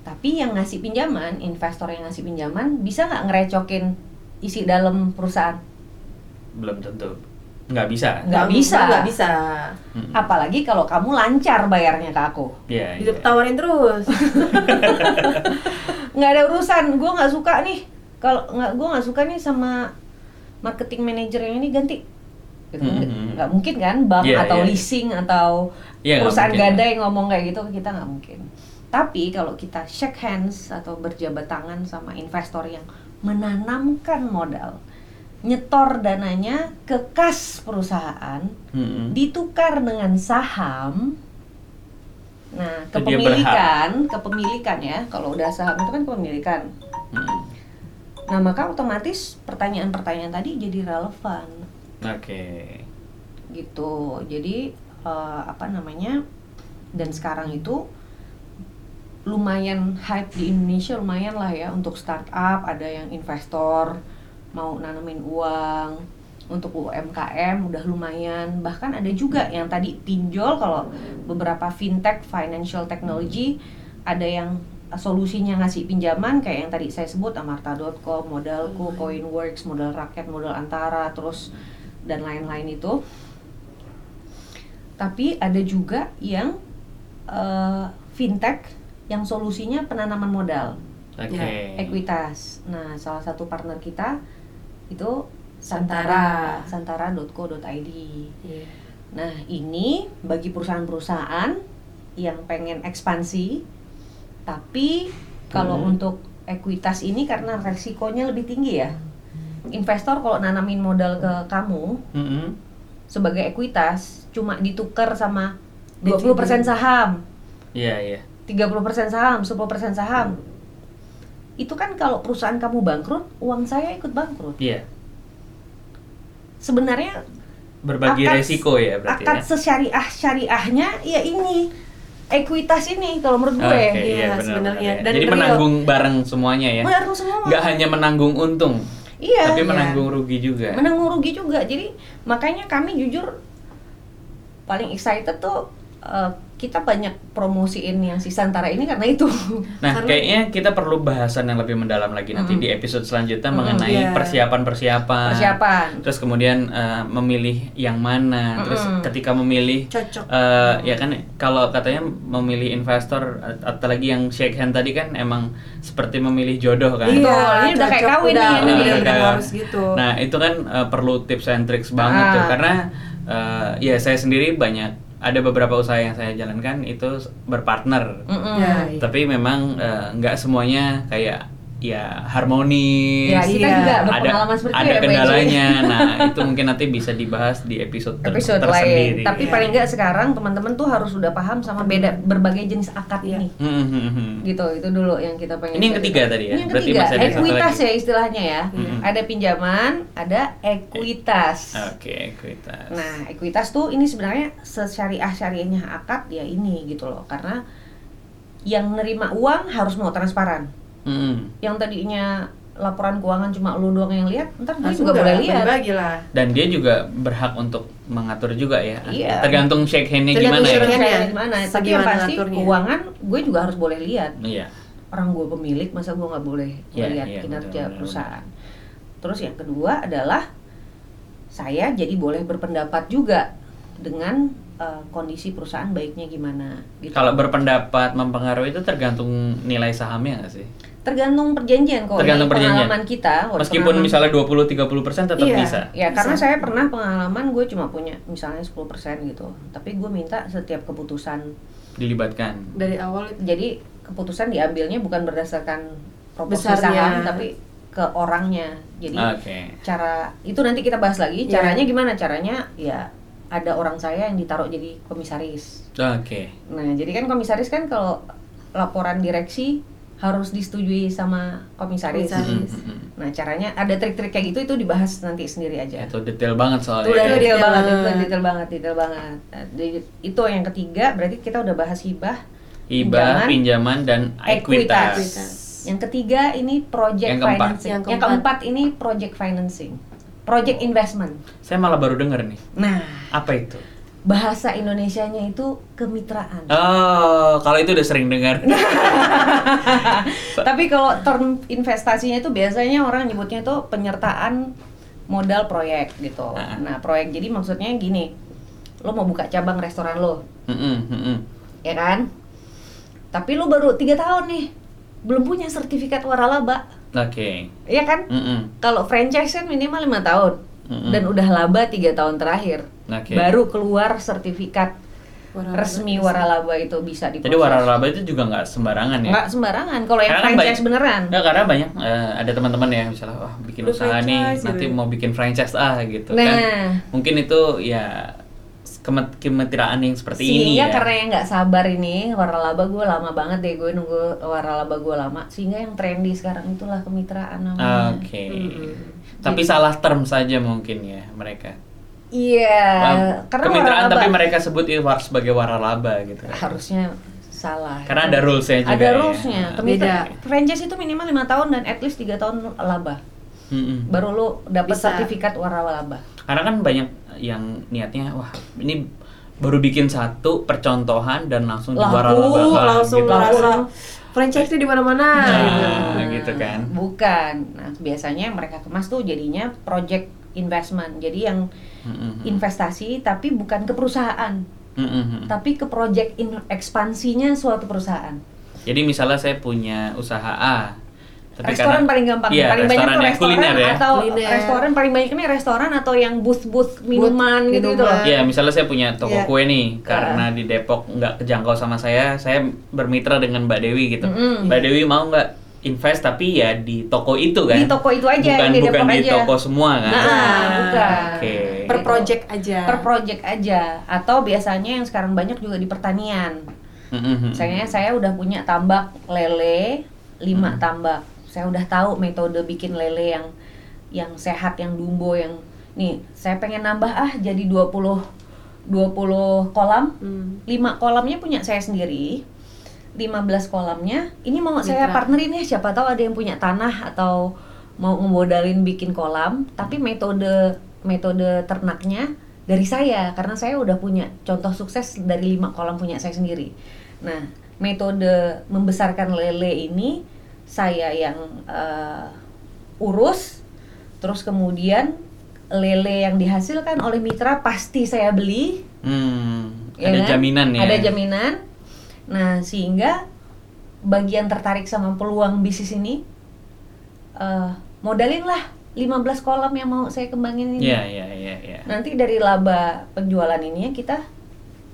S2: Tapi yang ngasih pinjaman, investor yang ngasih pinjaman bisa nggak ngerecokin isi dalam perusahaan?
S1: Belum tentu. Nggak bisa.
S2: Nggak bisa.
S3: nggak bisa
S1: Mm-mm.
S2: Apalagi kalau kamu lancar bayarnya ke aku.
S1: Iya, iya.
S3: ditawarin terus
S2: Nggak ada urusan, gue nggak suka nih. Kalau nggak, gue nggak suka nih sama marketing manager yang ini ganti. Gitu.
S1: Mm-mm.
S2: Nggak mungkin kan, bank
S1: Hmm, Iya,
S2: atau
S1: iya.
S2: leasing atau
S1: Iya, nggak
S2: perusahaan
S1: mungkin.
S2: gadai ngomong kayak gitu kita nggak mungkin. Tapi kalau kita shake hands atau berjabat tangan sama investor yang menanamkan modal, nyetor dananya ke kas perusahaan,
S1: Mm-mm.
S2: ditukar dengan saham. Nah,
S1: Itu dia
S2: kepemilikan, kepemilikan ya. Kalau udah saham itu kan kepemilikan.
S1: Mm-mm.
S2: Nah, maka otomatis pertanyaan-pertanyaan tadi jadi relevan
S1: Oke.
S2: gitu jadi eh, apa namanya dan sekarang itu lumayan hype di Indonesia lumayan lah ya untuk startup ada yang investor mau nanamin uang untuk UMKM udah lumayan bahkan ada juga yang tadi pinjol kalau beberapa fintech financial technology ada yang eh, solusinya ngasih pinjaman kayak yang tadi saya sebut amarta.com, modalku, coinworks, modal rakyat, modal antara terus dan lain-lain itu tapi ada juga yang eh, fintech yang solusinya penanaman modal
S1: Oke.
S2: Ya, ekuitas nah salah satu partner kita itu
S3: Santara.
S2: Santara santara.co.id
S3: Iya.
S2: nah ini bagi perusahaan-perusahaan yang pengen ekspansi Tapi kalau
S1: Hmm.
S2: untuk ekuitas ini karena resikonya lebih tinggi ya. Investor kalau nanamin modal ke kamu
S1: Mm-mm.
S2: sebagai ekuitas cuma ditukar sama
S3: Dividen.
S2: 20% saham,
S1: Iya, iya.
S2: 30% saham, 10% saham. Itu kan kalau perusahaan kamu bangkrut, uang saya ikut bangkrut.
S1: Iya.
S2: Sebenarnya
S1: Berbagi
S2: Akad-
S1: resiko ya berarti ya.
S2: akad sesyariah syariahnya ya ini ekuitas ini kalau menurut gue.
S1: Oke,
S3: ya,
S1: iya, benar,
S3: sebenarnya.
S1: benar, ya.
S3: Dan
S1: Jadi
S3: real.
S1: menanggung bareng semuanya ya.
S2: Benar semua.
S1: Nggak hanya menanggung untung,
S2: Iya.
S1: tapi
S2: iya.
S1: menanggung rugi juga.
S2: menanggung rugi juga jadi makanya kami jujur paling excited tuh eh, kita banyak promosiin yang si Santara ini karena itu
S1: Nah,
S3: Karena-
S1: kayaknya kita perlu bahasan yang lebih mendalam lagi nanti
S2: Mm.
S1: di episode selanjutnya
S2: Mm,
S1: mengenai
S3: iya.
S1: persiapan-persiapan.
S2: persiapan
S1: Terus kemudian eh, memilih yang mana. Terus
S2: Mm-mm.
S1: ketika memilih
S3: Cocok.
S1: eh, ya kan kalau katanya memilih investor at- apalagi yang shake hand tadi kan emang seperti memilih jodoh kan.
S2: Iya, ini udah kayak
S3: cocok,
S2: kawin
S3: udah,
S2: nih, ini
S3: udah,
S1: Nah,
S3: udah
S1: kayak-
S3: harus gitu.
S1: Nah, itu kan eh, perlu tips and tricks banget
S2: Ah.
S1: tuh karena eh, ya saya sendiri banyak ada beberapa usaha yang saya jalankan itu s- berpartner.
S2: Mm-mm.
S3: Ya, iya.
S1: Tapi memang eh, nggak semuanya kayak ya harmonis.
S2: ya kita
S3: Iya.
S2: juga
S1: ada
S2: berpengalaman seperti
S1: ada
S2: itu ya, PJ.
S1: kendalanya. nah, itu mungkin nanti bisa dibahas di episode, ter-
S2: episode
S1: tersendiri.
S2: lain tapi
S3: Iya.
S2: paling nggak sekarang teman-teman tuh harus udah paham sama beda berbagai jenis akad
S3: Iya.
S2: ini
S1: Hmm, hmm, hmm.
S2: gitu itu dulu yang kita
S1: Ini
S2: pengen
S1: yang
S2: cerita.
S1: ketiga tadi ya?
S2: ini yang
S1: Berarti
S2: ketiga
S1: masih ada satu
S2: ekuitas
S1: lagi. Hmm.
S2: ya istilahnya ya
S1: Mm-mm.
S2: ada pinjaman ada ekuitas
S1: Oke, Eh, ekuitas.
S2: Nah, ekuitas tuh ini sebenarnya sesyariah syariahnya akad ya ini gitu loh. Karena yang nerima uang harus mau transparan.
S1: Hmm.
S2: Yang tadinya laporan keuangan cuma lu doang yang lihat, ntar dia
S3: Harus
S2: juga boleh lihat.
S3: Bagi lah.
S1: Dan dia juga berhak untuk mengatur juga ya.
S2: Iya.
S1: Tergantung shake hand-nya gimana
S3: Tergantung
S1: ya.
S3: shake hand.
S2: Saya gimana? Tapi yang
S3: Segimana
S2: pasti
S3: ngaturnya.
S2: keuangan gue juga harus boleh lihat.
S1: Iya.
S2: Orang gue pemilik, masa gue nggak boleh
S1: Iya,
S2: melihat
S1: iya,
S2: kinerja
S1: benar, benar,
S2: perusahaan. Terus yang kedua adalah saya jadi boleh berpendapat juga dengan eh, kondisi perusahaan baiknya gimana. Gitu.
S1: Kalau berpendapat mempengaruhi itu tergantung nilai sahamnya nggak sih?
S2: tergantung perjanjian kok
S1: Tergantung
S2: Dari
S1: perjanjian.
S2: pengalaman kita kalau
S1: Meskipun
S2: pengalaman-
S1: misalnya 20-30% tetap
S3: Iya.
S1: bisa.
S2: ya
S3: Bisa.
S2: karena saya pernah pengalaman gue cuma punya misalnya 10% gitu tapi gue minta setiap keputusan
S1: Dilibatkan.
S3: Dari awal itu.
S2: jadi keputusan diambilnya bukan berdasarkan proporsi
S3: Besarnya.
S2: saham tapi ke orangnya jadi
S1: Oke.
S2: cara itu nanti kita bahas lagi
S3: Iya.
S2: caranya gimana caranya ya ada orang saya yang ditaruh jadi komisaris
S1: Oke.
S2: nah jadi kan komisaris kan kalau laporan direksi harus disetujui sama komisaris,
S3: Komisaris.
S1: Hmm, hmm, hmm.
S2: Nah, caranya ada trik-trik kayak gitu itu dibahas nanti sendiri
S1: Ya,
S2: aja.
S1: Itu detail banget
S2: Itu
S1: soalnya.
S2: udah
S1: ya.
S3: Iya.
S2: detail banget, itu
S3: Iya.
S2: udah detail banget, detail banget. Nah, di- Itu yang ketiga, berarti kita udah bahas hibah.
S1: Hibah,
S2: Pinjaman.
S1: pinjaman, dan
S2: Ekuitas.
S1: ekuitas.
S3: Ekuitas.
S2: Yang ketiga ini project
S1: Yang keempat.
S2: financing.
S3: Yang
S2: Yang keempat ini project financing. Project investment.
S1: Saya malah baru denger nih.
S2: Nah,
S1: Apa itu?
S2: bahasa Indonesianya itu kemitraan.
S1: Oh, kalau itu udah sering dengar.
S2: Tapi kalau term investasinya itu biasanya orang nyebutnya itu penyertaan modal proyek gitu.
S1: Ah.
S2: Nah, proyek jadi maksudnya gini. Lo mau buka cabang restoran lo,
S1: Mm-mm, mm-mm.
S2: ya kan? Tapi lu baru tiga tahun nih, belum punya sertifikat waralaba,
S1: Oke.
S2: ya kan?
S1: Mm-mm,
S2: Kalau franchise kan minimal lima tahun
S1: Mm-mm.
S2: dan udah laba tiga tahun terakhir,
S1: Oke.
S2: baru keluar sertifikat resmi waralaba itu bisa diproses.
S1: Jadi waralaba itu juga nggak sembarangan ya?
S2: Nggak sembarangan. Kalau yang
S1: Karena kan
S2: franchise
S1: banyak-
S2: beneran,
S1: Nggak, karena banyak eh, ada teman-teman ya misalnya wah bikin
S3: Udah
S1: usaha nih
S3: franchise gitu
S1: nanti
S3: ya.
S1: mau bikin franchise ah gitu kan.
S2: nah
S1: Mungkin itu ya kemet- kemetiraan yang seperti ini
S2: sehingga
S1: ya.
S2: karena yang nggak sabar ini waralaba gue lama banget deh gue nunggu waralaba gue lama sehingga yang trendy sekarang itulah kemitraan namanya.
S1: Ah, Oke.
S2: Hmm.
S3: Mm-mm.
S1: Tapi salah term saja mungkin ya mereka.
S2: Iya, karena
S1: Kemitraan
S2: waralaba
S1: tapi mereka sebut itu war- sebagai waralaba gitu.
S2: harusnya salah.
S1: Karena ada rules-nya juga
S2: Ada
S1: ya.
S2: rules-nya.
S1: Nah.
S2: Kemitra-
S3: Beda.
S2: franchise itu minimal lima tahun dan at least tiga tahun laba.
S1: Mm-mm.
S2: Baru lu dapat
S3: Bisa.
S2: sertifikat waralaba.
S1: Karena kan banyak yang niatnya wah ini baru bikin satu percontohan dan langsung
S2: Laku,
S1: waralaba
S3: Uh, langsung
S1: gitu.
S3: merasa franchise itu di mana-mana.
S1: Nah,
S3: gitu.
S1: gitu kan.
S2: Bukan. Nah, biasanya yang mereka kemas tuh jadinya project investment. Jadi yang
S1: Hmm. Mm-mm.
S2: investasi tapi bukan ke perusahaan,
S1: Hmm. Mm-mm.
S2: tapi ke project in- ekspansinya suatu perusahaan.
S1: Jadi misalnya saya punya usaha A
S2: restoran
S1: karena-
S2: paling gampang
S1: Iya,
S2: paling banyak
S1: restoran
S2: tuh
S1: ya,
S2: restoran
S1: kuliner ya.
S2: atau
S3: Kuliner.
S2: restoran paling banyak ini restoran atau yang booth booth minuman gitu gitu loh
S3: minuman.
S1: Iya, misalnya saya punya toko
S3: Iya.
S1: kue nih, karena di Depok nggak kejangkau sama saya, saya bermitra dengan Mbak Dewi gitu.
S2: Mm-mm.
S1: Mbak Dewi mau nggak invest tapi ya di toko itu kan?
S2: Di toko itu aja,
S1: bukan
S2: di
S1: bukan
S2: Depok
S1: di
S2: aja.
S1: toko semua kan?
S2: nah bukan
S1: Oke.
S3: per project
S1: Iya.
S3: aja
S2: per project aja atau biasanya yang sekarang banyak juga di pertanian
S1: Mm-mm.
S2: Misalnya saya udah punya tambak lele 5 tambak. Saya udah tahu metode bikin lele yang yang sehat, yang dumbo, yang nih saya pengen nambah ah jadi 20 20 kolam.
S3: Hmm.
S2: 5 kolamnya punya saya sendiri. 15 kolamnya ini mau nggak saya
S3: Mitra.
S2: partnerin ya siapa tahu ada yang punya tanah atau mau ngemodalin bikin kolam tapi metode metode ternaknya dari saya karena saya udah punya contoh sukses dari lima kolam punya saya sendiri nah metode membesarkan lele ini saya yang eh, urus terus kemudian lele yang dihasilkan oleh mitra pasti saya beli
S1: Hmm,
S2: ya
S1: ada
S2: kan?
S1: jaminan ya.
S2: Ada jaminan. Nah, sehingga bagi yang tertarik sama peluang bisnis ini eh modalin lah 15 kolam yang mau saya kembangin ini.
S1: Iya, iya, iya, iya.
S2: Nanti dari laba penjualan ini ya kita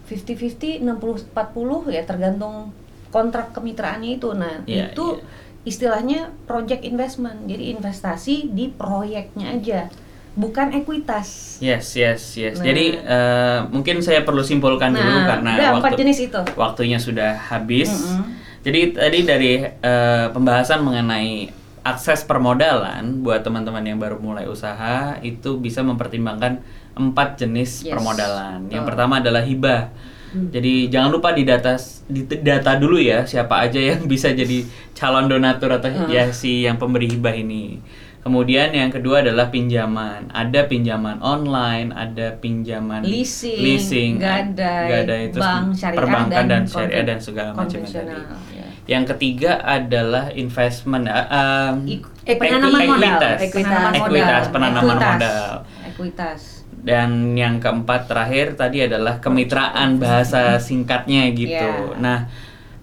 S2: 50-50, 60-40 ya tergantung kontrak kemitraannya itu. Nah,
S1: Iya,
S2: itu istilahnya project investment. Jadi investasi di proyeknya aja, bukan ekuitas.
S1: Yes, yes, yes.
S2: Nah.
S1: Jadi eh, mungkin saya perlu simpulkan dulu karena
S2: udah Nah, empat
S1: waktu
S2: jenis itu.
S1: waktunya sudah habis.
S2: Mm-mm.
S1: Jadi tadi dari eh, pembahasan mengenai akses permodalan buat teman-teman yang baru mulai usaha itu bisa mempertimbangkan empat jenis
S2: Yes.
S1: permodalan. Yang
S2: Betul. Hmm.
S1: pertama adalah hibah. Jadi jangan lupa di data di data dulu ya siapa aja yang bisa jadi calon donatur atau
S2: Ah.
S1: ya si yang pemberi hibah ini. Kemudian yang kedua adalah pinjaman. Ada pinjaman online, ada pinjaman
S2: leasing,
S1: leasing,
S2: gadai,
S1: gadai, terus
S2: bank syariah
S1: perbankan dan,
S2: dan
S1: syariah
S2: konven-
S1: dan segala macam yang tadi. Hmm.
S2: konvensional, ya.
S1: Yang ketiga adalah investment eh, um,
S2: Ik-
S1: equi-
S2: penanaman modal,
S1: ekuitas.
S2: penanaman modal.
S1: Ekuitas, penanaman
S2: Ekuitas.
S1: modal.
S2: Ekuitas.
S1: Dan yang keempat terakhir tadi adalah kemitraan bahasa singkatnya gitu.
S2: Iya.
S1: Nah,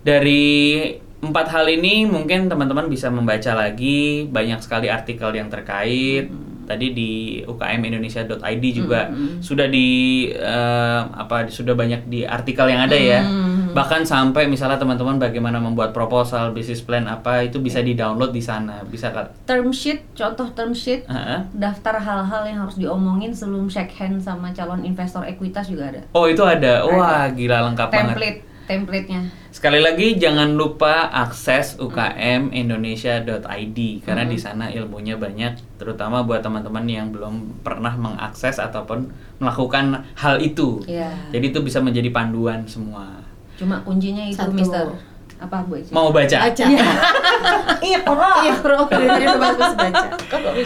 S1: dari empat hal ini mungkin teman-teman bisa membaca lagi banyak sekali artikel yang terkait. Tadi di ukmindonesia.id juga sudah di eh, apa sudah banyak di artikel yang ada ya. Bahkan sampai misalnya teman-teman bagaimana membuat proposal, bisnis plan apa itu bisa di-download di sana. Bisa kan?
S2: Term sheet, contoh term sheet,
S1: Heeh.
S2: daftar hal-hal yang harus diomongin sebelum shake hand sama calon investor ekuitas juga ada.
S1: Oh, itu ada. Wah, gila lengkap banget.
S2: Template, template-nya.
S1: Sekali lagi jangan lupa akses ukmindonesia.id karena
S3: Mm-hmm.
S1: di sana ilmunya banyak terutama buat teman-teman yang belum pernah mengakses ataupun melakukan hal itu.
S2: Iya.
S1: Jadi itu bisa menjadi panduan semua.
S2: Cuma kuncinya itu,
S3: Satu.
S2: Mister. Apa Bu Eci?
S1: Mau baca?
S3: Baca.
S2: Iya, pernah.
S3: Iya, bro. Jadi udah bagus baca.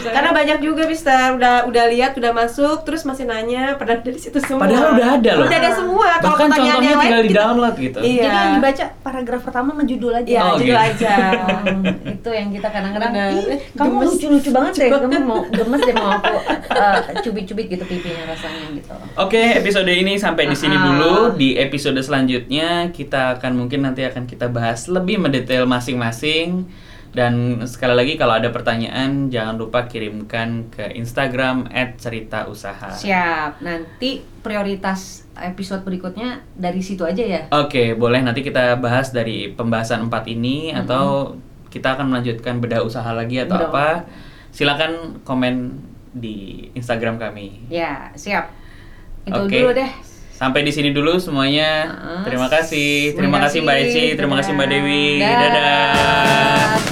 S3: Karena banyak juga Mister udah udah lihat, udah masuk, terus masih nanya, padahal dari situ semua.
S1: Padahal udah ada loh.
S3: Udah ada semua. Kalau
S1: Bahkan
S3: pertanyaan
S1: contohnya
S3: yang lain
S1: tinggal
S3: kita-
S1: di-download gitu.
S3: Iya.
S2: Jadi yang dibaca paragraf pertama sama judul aja.
S3: Iya,
S1: Oh,
S3: judul
S1: gitu.
S3: aja.
S2: Hmm, itu yang kita kadang-kadang
S3: Bener.
S2: "Ih, kamu
S3: Gemes.
S2: lucu-lucu banget deh kamu mau gemes deh mau aku eh, cubit-cubit gitu pipinya rasanya gitu
S1: Oke, episode ini sampai di sini
S2: Ah.
S1: dulu. Di episode selanjutnya kita akan mungkin nanti akan kita bahas lebih mendetail masing-masing. Dan sekali lagi kalau ada pertanyaan jangan lupa kirimkan ke Instagram @ceritausaha.
S2: siap nanti prioritas episode berikutnya dari situ aja ya
S1: Oke, boleh nanti kita bahas dari pembahasan 4 ini atau kita akan melanjutkan bedah usaha lagi atau
S2: Bedah.
S1: apa? Silakan komen di Instagram kami.
S2: ya siap itu
S1: Oke.
S2: dulu deh
S1: Sampai di sini dulu semuanya.
S2: Ah.
S1: Terima kasih. Terima
S2: Terima
S1: kasih Mbak
S2: kasih.
S1: Eci, terima kasih Mbak Dewi.
S2: Dadah.
S1: Dadah.